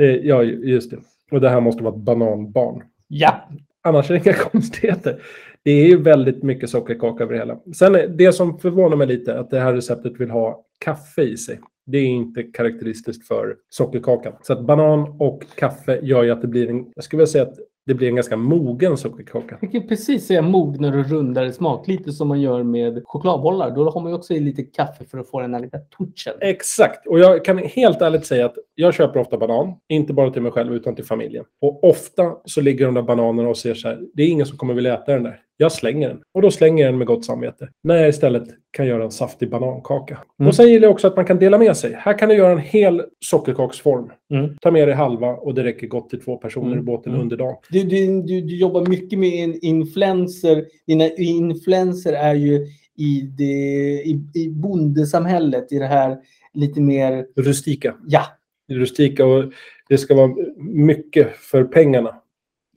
Speaker 2: Eh, Ja, ju- just det. Och det här måste vara ett bananbarn.
Speaker 3: Ja.
Speaker 2: Annars är det inga konstigheter. Det är ju väldigt mycket sockerkaka över det hela. Sen är- det som förvånar mig lite är att det här receptet vill ha kaffe i sig. Det är inte karaktäristiskt för sockerkakan. Så att banan och kaffe gör ju att det blir en, jag skulle vilja säga att det blir en ganska mogen sockerkaka.
Speaker 3: Jag kan precis säga mognare och rundare smak. Lite som man gör med chokladbollar. Då har man ju också i lite kaffe för att få den här lilla touchen.
Speaker 2: Eh. Exakt. Och jag kan helt ärligt säga att jag köper ofta banan. Inte bara till mig själv, utan till familjen. Och ofta så ligger de där bananerna och ser så här. Det är ingen som kommer vilja äta den där. Jag slänger den. Och då slänger jag den med gott samvete. När jag istället kan göra en saftig banankaka.
Speaker 3: Mm.
Speaker 2: Och sen gillar jag också att man kan dela med sig. Här kan du göra en hel sockerkaksform.
Speaker 3: Mm.
Speaker 2: Ta med dig halva och det räcker gott till två personer i
Speaker 3: Mm.
Speaker 2: båten
Speaker 3: Mm.
Speaker 2: under dagen.
Speaker 3: Du, du, du, du jobbar mycket med in- influenser. Dina influenser är ju i, det, i, i bondesamhället. I det här lite mer...
Speaker 2: Rustika.
Speaker 3: Ja,
Speaker 2: Rustika och det ska vara mycket för pengarna.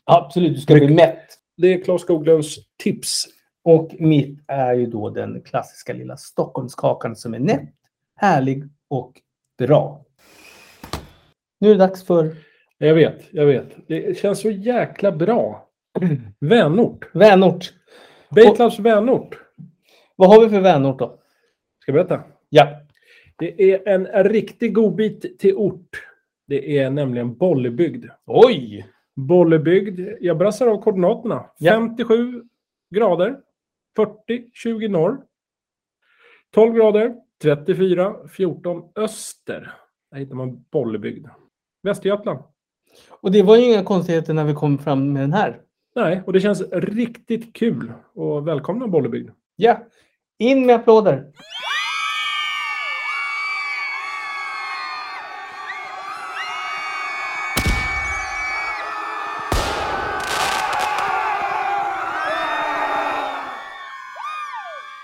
Speaker 3: absolut. Du ska bli mätt.
Speaker 2: Det är Klas Skoglunds tips.
Speaker 3: Och mitt är ju då den klassiska lilla Stockholmskakan som är nätt, härlig och bra. Nu är det dags för
Speaker 2: Jag vet, jag vet. Det känns så jäkla bra. Vänort.
Speaker 3: vänort.
Speaker 2: Batelavs vänort.
Speaker 3: Vad har vi för vänort då?
Speaker 2: Ska jag berätta?
Speaker 3: Ja.
Speaker 2: Det är en riktig godbit till ort. Det är nämligen Bollebygd.
Speaker 3: Oj!
Speaker 2: Bollebygd. Jag brassar av koordinaterna.
Speaker 3: Ja.
Speaker 2: 57 grader. 40, 20 norr. 12 grader. 34, 14 öster. Där hittar man Bollebygd. Västergötland.
Speaker 3: Och det var ju inga konstigheter när vi kom fram med den här.
Speaker 2: Nej, och det känns riktigt kul. Och välkomna Bollebygd.
Speaker 3: Ja. In med applåder.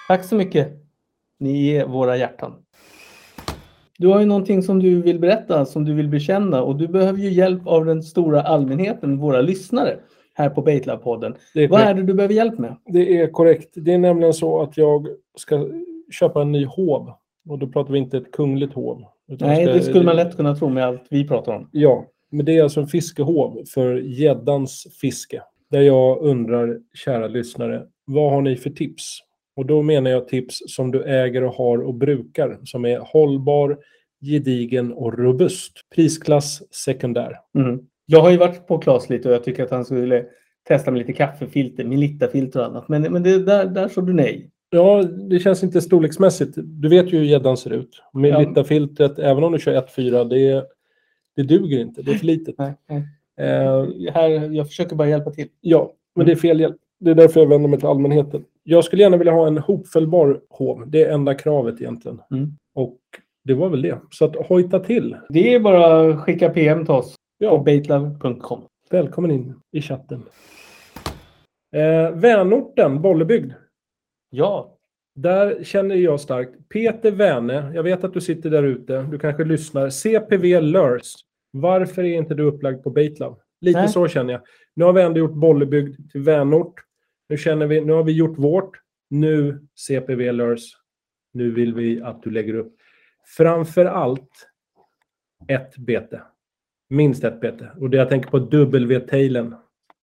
Speaker 3: Tack så mycket. Ni är våra hjärtan. Du har ju någonting som du vill berätta, som du vill bekänna och du behöver ju hjälp av den stora allmänheten, våra lyssnare här på Baitlab-podden.
Speaker 2: Det är
Speaker 3: Vad är det du behöver hjälp med?
Speaker 2: Det är korrekt. Det är nämligen så att jag ska köpa en ny hov. Och då pratar vi inte ett kungligt hov. utan
Speaker 3: Nej,
Speaker 2: jag
Speaker 3: det skulle man lätt kunna tro med allt vi pratar om.
Speaker 2: Ja, men det är alltså en fiskehov för gäddans fiske. Där jag undrar, kära lyssnare, vad har ni för tips? Och då menar jag tips som du äger och har och brukar, som är hållbar, gedigen och robust. Prisklass sekundär.
Speaker 3: Mm. Jag har ju varit på Claes lite och jag tycker att han skulle testa med lite kaffefilter, Melittafilter och annat. Men, men det, där, där såg du nej.
Speaker 2: Ja, det känns inte storleksmässigt. Du vet ju hur gäddan ser ut. Med
Speaker 3: Ja.
Speaker 2: Littafiltret, även om du kör 1,4, det, det duger inte. Det är för litet.
Speaker 3: nej, nej.
Speaker 2: Eh,
Speaker 3: Här, jag försöker bara hjälpa till.
Speaker 2: ja, men det är fel hjälp. Det är därför jag vänder mig till allmänheten. Jag skulle gärna vilja ha en hopfällbar hov. Det är enda kravet egentligen.
Speaker 3: Mm.
Speaker 2: Och det var väl det. Så att hojta till.
Speaker 3: Det är bara att skicka PM till oss på
Speaker 2: Ja,
Speaker 3: baitlove.com.
Speaker 2: välkommen in i chatten. Eh, vänorten, Bollebygd.
Speaker 3: Ja,
Speaker 2: Där känner jag starkt. Peter Wäne, jag vet att du sitter där ute. Du kanske lyssnar. CPV Lurs. Varför är inte du upplagd på Baitlab? Lite
Speaker 3: Nej.
Speaker 2: så känner jag. Nu har vi ändå gjort Bollebygd till Vänort. Nu, känner vi, nu har vi gjort vårt. Nu CPV Lurs. Nu vill vi att du lägger upp. Framför allt ett bete. Minst ett bete. Och det jag tänker på W-tailen.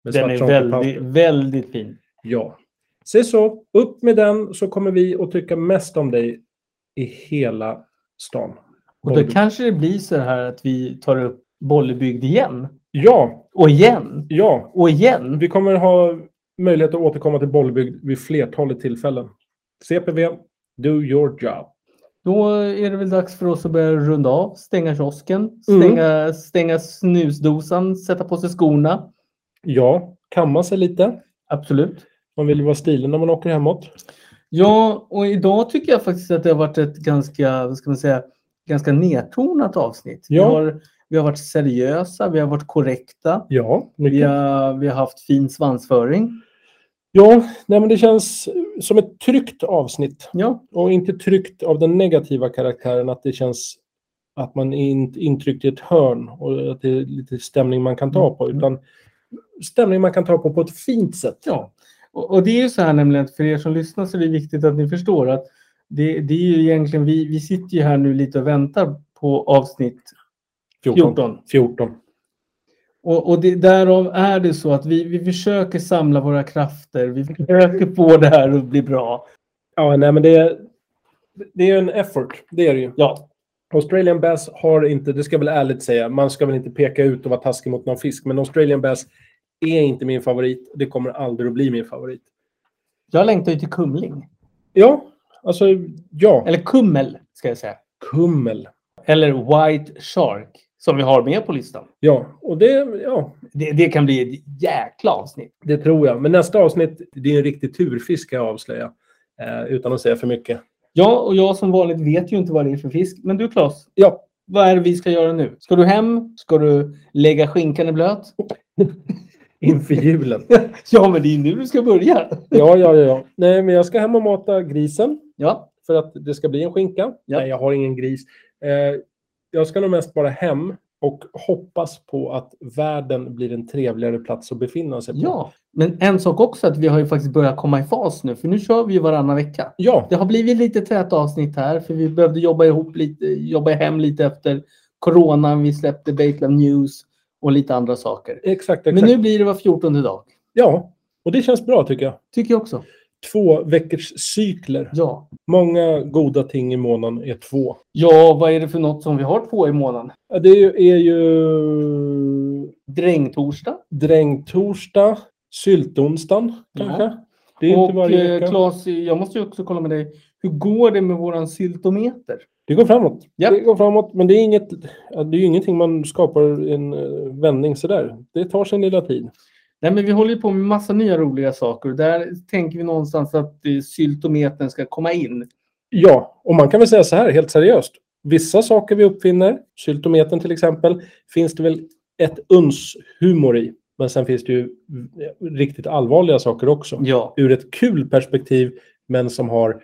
Speaker 2: med
Speaker 3: den
Speaker 2: svart
Speaker 3: är
Speaker 2: charterpauper.
Speaker 3: väldigt, väldigt fin.
Speaker 2: Ja. Se så, upp med den så kommer vi att tycka mest om dig i hela stan.
Speaker 3: Och då
Speaker 2: Bollebygd.
Speaker 3: kanske det blir så här att vi tar upp Bollebygd igen.
Speaker 2: Ja,
Speaker 3: Och igen.
Speaker 2: ja.
Speaker 3: Och igen.
Speaker 2: Vi kommer ha möjlighet att återkomma till Bollebygd vid flertalet tillfällen. CPV, do your job.
Speaker 3: Då är det väl dags för oss att börja runda av, stänga kiosken, stänga, stänga snusdosan, sätta på sig skorna.
Speaker 2: Ja, kamma sig lite.
Speaker 3: Absolut.
Speaker 2: Man vill ju vara stilig när man åker hemåt.
Speaker 3: Ja, och idag tycker jag faktiskt att det har varit ett ganska, vad ska man säga, ganska nedtonat avsnitt. Vi,
Speaker 2: Ja.
Speaker 3: har, vi har varit seriösa, vi har varit korrekta,
Speaker 2: Ja,
Speaker 3: vi
Speaker 2: mycket.
Speaker 3: har, vi har haft fin svansföring.
Speaker 2: Ja, nej, men det känns som ett tryggt avsnitt.
Speaker 3: Ja,
Speaker 2: Och inte tryggt av den negativa karaktären att det känns att man är in- intryckt i ett hörn och att det är lite stämning man kan ta på. Utan stämning man kan ta på på ett fint sätt.
Speaker 3: ja. Och, och det är ju så här nämligen, att för er som lyssnar så är det viktigt att ni förstår att det, det är ju egentligen, vi, vi sitter ju här nu lite och väntar på avsnitt 14.
Speaker 2: 14.
Speaker 3: Och, och det, därav är det så att vi, vi försöker samla våra krafter. Vi försöker få det här att bli bra.
Speaker 2: Ja, nej, men det är, det är en effort. Det är det ju.
Speaker 3: Ja,
Speaker 2: Australian Bass har inte, det ska jag väl ärligt säga, man ska väl inte peka ut och vara taskig mot någon fisk, men Australian Bass är inte min favorit. Det kommer aldrig att bli min favorit.
Speaker 3: jag längtar ju till kumling.
Speaker 2: Ja, alltså ja.
Speaker 3: Eller kummel, ska jag säga.
Speaker 2: Kummel.
Speaker 3: Eller white shark, som vi har med på listan.
Speaker 2: Ja, och det, ja,
Speaker 3: Det, det kan bli ett jäkla avsnitt.
Speaker 2: det tror jag. Men nästa avsnitt, det är en riktig turfisk ska jag avslöja. Eh, utan att säga för mycket.
Speaker 3: Ja, och jag som vanligt vet ju inte vad det är för fisk. Men du Claes,
Speaker 2: Ja,
Speaker 3: vad är det vi ska göra nu? Ska du hem? Ska du lägga skinkan i blöt?
Speaker 2: inför julen.
Speaker 3: Ja, men det är ju nu du ska börja.
Speaker 2: ja, ja, ja, ja. Nej, men jag ska hem och mata grisen.
Speaker 3: Ja,
Speaker 2: för att det ska bli en skinka.
Speaker 3: Ja.
Speaker 2: Nej, jag har ingen gris. Eh, jag ska nog mest bara hem och hoppas på att världen blir en trevligare plats att befinna sig på.
Speaker 3: ja. Men en sak också att vi har ju faktiskt börjat komma i fas nu. För nu kör vi ju varannan vecka.
Speaker 2: ja.
Speaker 3: Det har blivit lite täta avsnitt här för vi behövde jobba ihop lite, jobba hem lite efter coronan. Vi släppte Baitlab News och lite andra saker.
Speaker 2: exakt. exakt.
Speaker 3: Men nu blir det var 14 dag.
Speaker 2: Ja, och det känns bra tycker jag.
Speaker 3: Tycker jag också.
Speaker 2: Två veckors cykler.
Speaker 3: Ja.
Speaker 2: Många goda ting i månaden är två.
Speaker 3: Ja, vad är det för något som vi har två i månaden?
Speaker 2: Ja, Det är ju, är ju
Speaker 3: Drängtorsdag.
Speaker 2: drängtorsdag, syltonsdagen kanske. Det är
Speaker 3: och
Speaker 2: inte varje
Speaker 3: eh,
Speaker 2: vecka.
Speaker 3: Claes, jag måste ju också kolla med dig. Hur går det med våran syltometer?
Speaker 2: Det går framåt.
Speaker 3: Ja.
Speaker 2: Det går framåt, men det är, inget, ja, det är ju ingenting man skapar en eh, vändning sådär. Det tar sin lilla tid.
Speaker 3: Nej, men vi håller ju på med massa nya roliga saker. Där tänker vi någonstans att eh, syltometern ska komma in.
Speaker 2: Ja, och man kan väl säga så här helt seriöst. Vissa saker vi uppfinner, syltometern till exempel, finns det väl ett uns humor i. Men sen finns det ju eh, riktigt allvarliga saker också.
Speaker 3: Ja.
Speaker 2: Ur ett kul perspektiv, men som har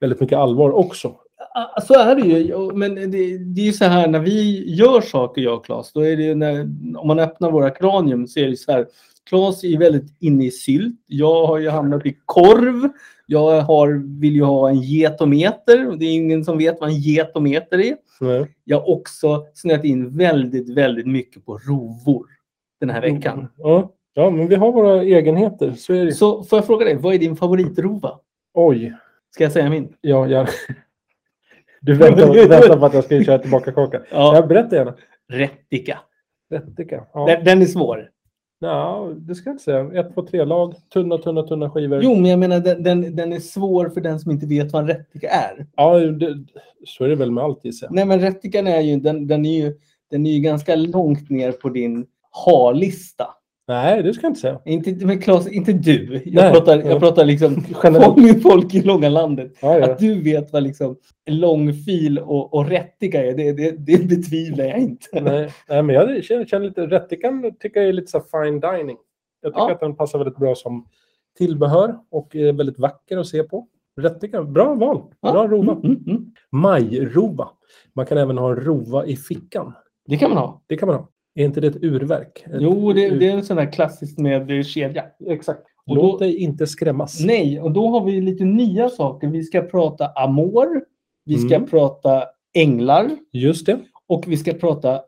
Speaker 2: väldigt mycket allvar också.
Speaker 3: Ja, Så är det ju. Och- Men det, det är ju så här när vi gör saker, jag och Claes, då är det ju när, om man öppnar våra kranium så är det ju så här. Claes är ju väldigt inne i sylt. Jag har ju hamnat i korv. Jag har, vill ju ha en getometer. och Det är ingen som vet vad en getometer är.
Speaker 2: Nej.
Speaker 3: Jag har också snöat in väldigt, väldigt mycket på rovor den här veckan.
Speaker 2: Ja. ja, men vi har våra egenheter. Så är det.
Speaker 3: Så får jag fråga dig, vad är din favoritrova?
Speaker 2: Oj.
Speaker 3: Ska jag säga min?
Speaker 2: Ja, jag... Du väntar, väntar på att jag ska köra tillbaka kakan.
Speaker 3: Ja,
Speaker 2: Ja, berätta gärna.
Speaker 3: rättika.
Speaker 2: Rättika. Ja.
Speaker 3: Den, den är svår.
Speaker 2: Nja, det ska jag inte säga. Ett, två, tre lag. Tunna, tunna, tunna skivor.
Speaker 3: Jo, men jag menar den, den, den är svår för den som inte vet vad en rättika är.
Speaker 2: Ja, det, så är det väl med allt gissar jag.
Speaker 3: Nej, men rättikan är ju, den, den är ju, den är ju ganska långt ner på din ha-lista.
Speaker 2: Nej, det ska jag inte säga.
Speaker 3: Inte, men Claes, inte du. Jag
Speaker 2: Nej.
Speaker 3: pratar, jag
Speaker 2: Ja.
Speaker 3: pratar liksom
Speaker 2: Generellt.
Speaker 3: folk, folk i långa landet.
Speaker 2: Ja, ja.
Speaker 3: Att du vet vad liksom långfil och, och rättika är, det, det, det betvivlar jag inte.
Speaker 2: Nej, nej, men jag känner, känner lite... Rättikan tycker jag är lite så här fine dining. Jag tycker
Speaker 3: Ja.
Speaker 2: att den passar väldigt bra som tillbehör och är väldigt vacker att se på. Rättika, bra val.
Speaker 3: Ja.
Speaker 2: Bra rova.
Speaker 3: Mm, mm, mm.
Speaker 2: Majrova. Man kan även ha en rova i fickan.
Speaker 3: Det kan man ha.
Speaker 2: Det kan man ha. Är inte det ett urverk? Ett
Speaker 3: Jo, det,
Speaker 2: ur-
Speaker 3: det är en sån här klassisk med eh, kedja.
Speaker 2: Exakt.
Speaker 3: Och
Speaker 2: Låt
Speaker 3: då-
Speaker 2: dig inte skrämmas.
Speaker 3: Nej, och då har vi lite nya saker. Vi ska prata amor, vi ska
Speaker 2: Mm.
Speaker 3: prata änglar
Speaker 2: Just det.
Speaker 3: och vi ska prata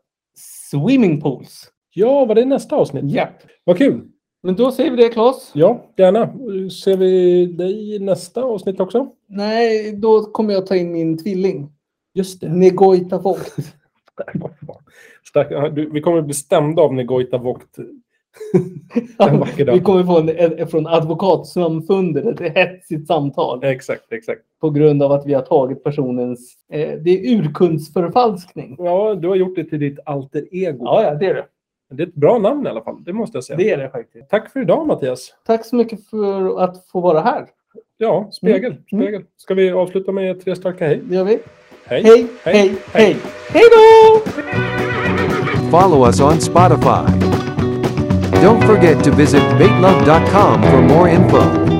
Speaker 3: swimmingpools.
Speaker 2: Ja, var det nästa avsnitt?
Speaker 3: Japp.
Speaker 2: Vad kul.
Speaker 3: Men då säger vi det, Claes.
Speaker 2: Ja, gärna. Ser vi dig i nästa avsnitt också?
Speaker 3: Nej, då kommer jag ta in min tvilling.
Speaker 2: Just
Speaker 3: Negoita Vogt.
Speaker 2: Stark, Ja, du, vi kommer att bli stämda av Negoita Vogt En vacker dag.
Speaker 3: Vi kommer få en, en, från Advokatsamfundet ett hetsigt samtal
Speaker 2: Exakt, exakt.
Speaker 3: på grund av att vi har tagit personens... Eh, det är urkundsförfalskning.
Speaker 2: Ja, du har gjort det till ditt alter ego.
Speaker 3: Ja, ja, det är det.
Speaker 2: Det är ett bra namn i alla fall, det måste jag säga.
Speaker 3: Det är det faktiskt.
Speaker 2: Tack för idag Mattias.
Speaker 3: Tack så mycket för att få vara här.
Speaker 2: Ja, spegel. spegel. Ska vi avsluta med tre starka hej?
Speaker 3: Det gör vi.
Speaker 2: Hej!
Speaker 3: Hej, hej, hej! Hej då!
Speaker 1: Follow us on Spotify. Don't forget to visit baitlove.com for more info.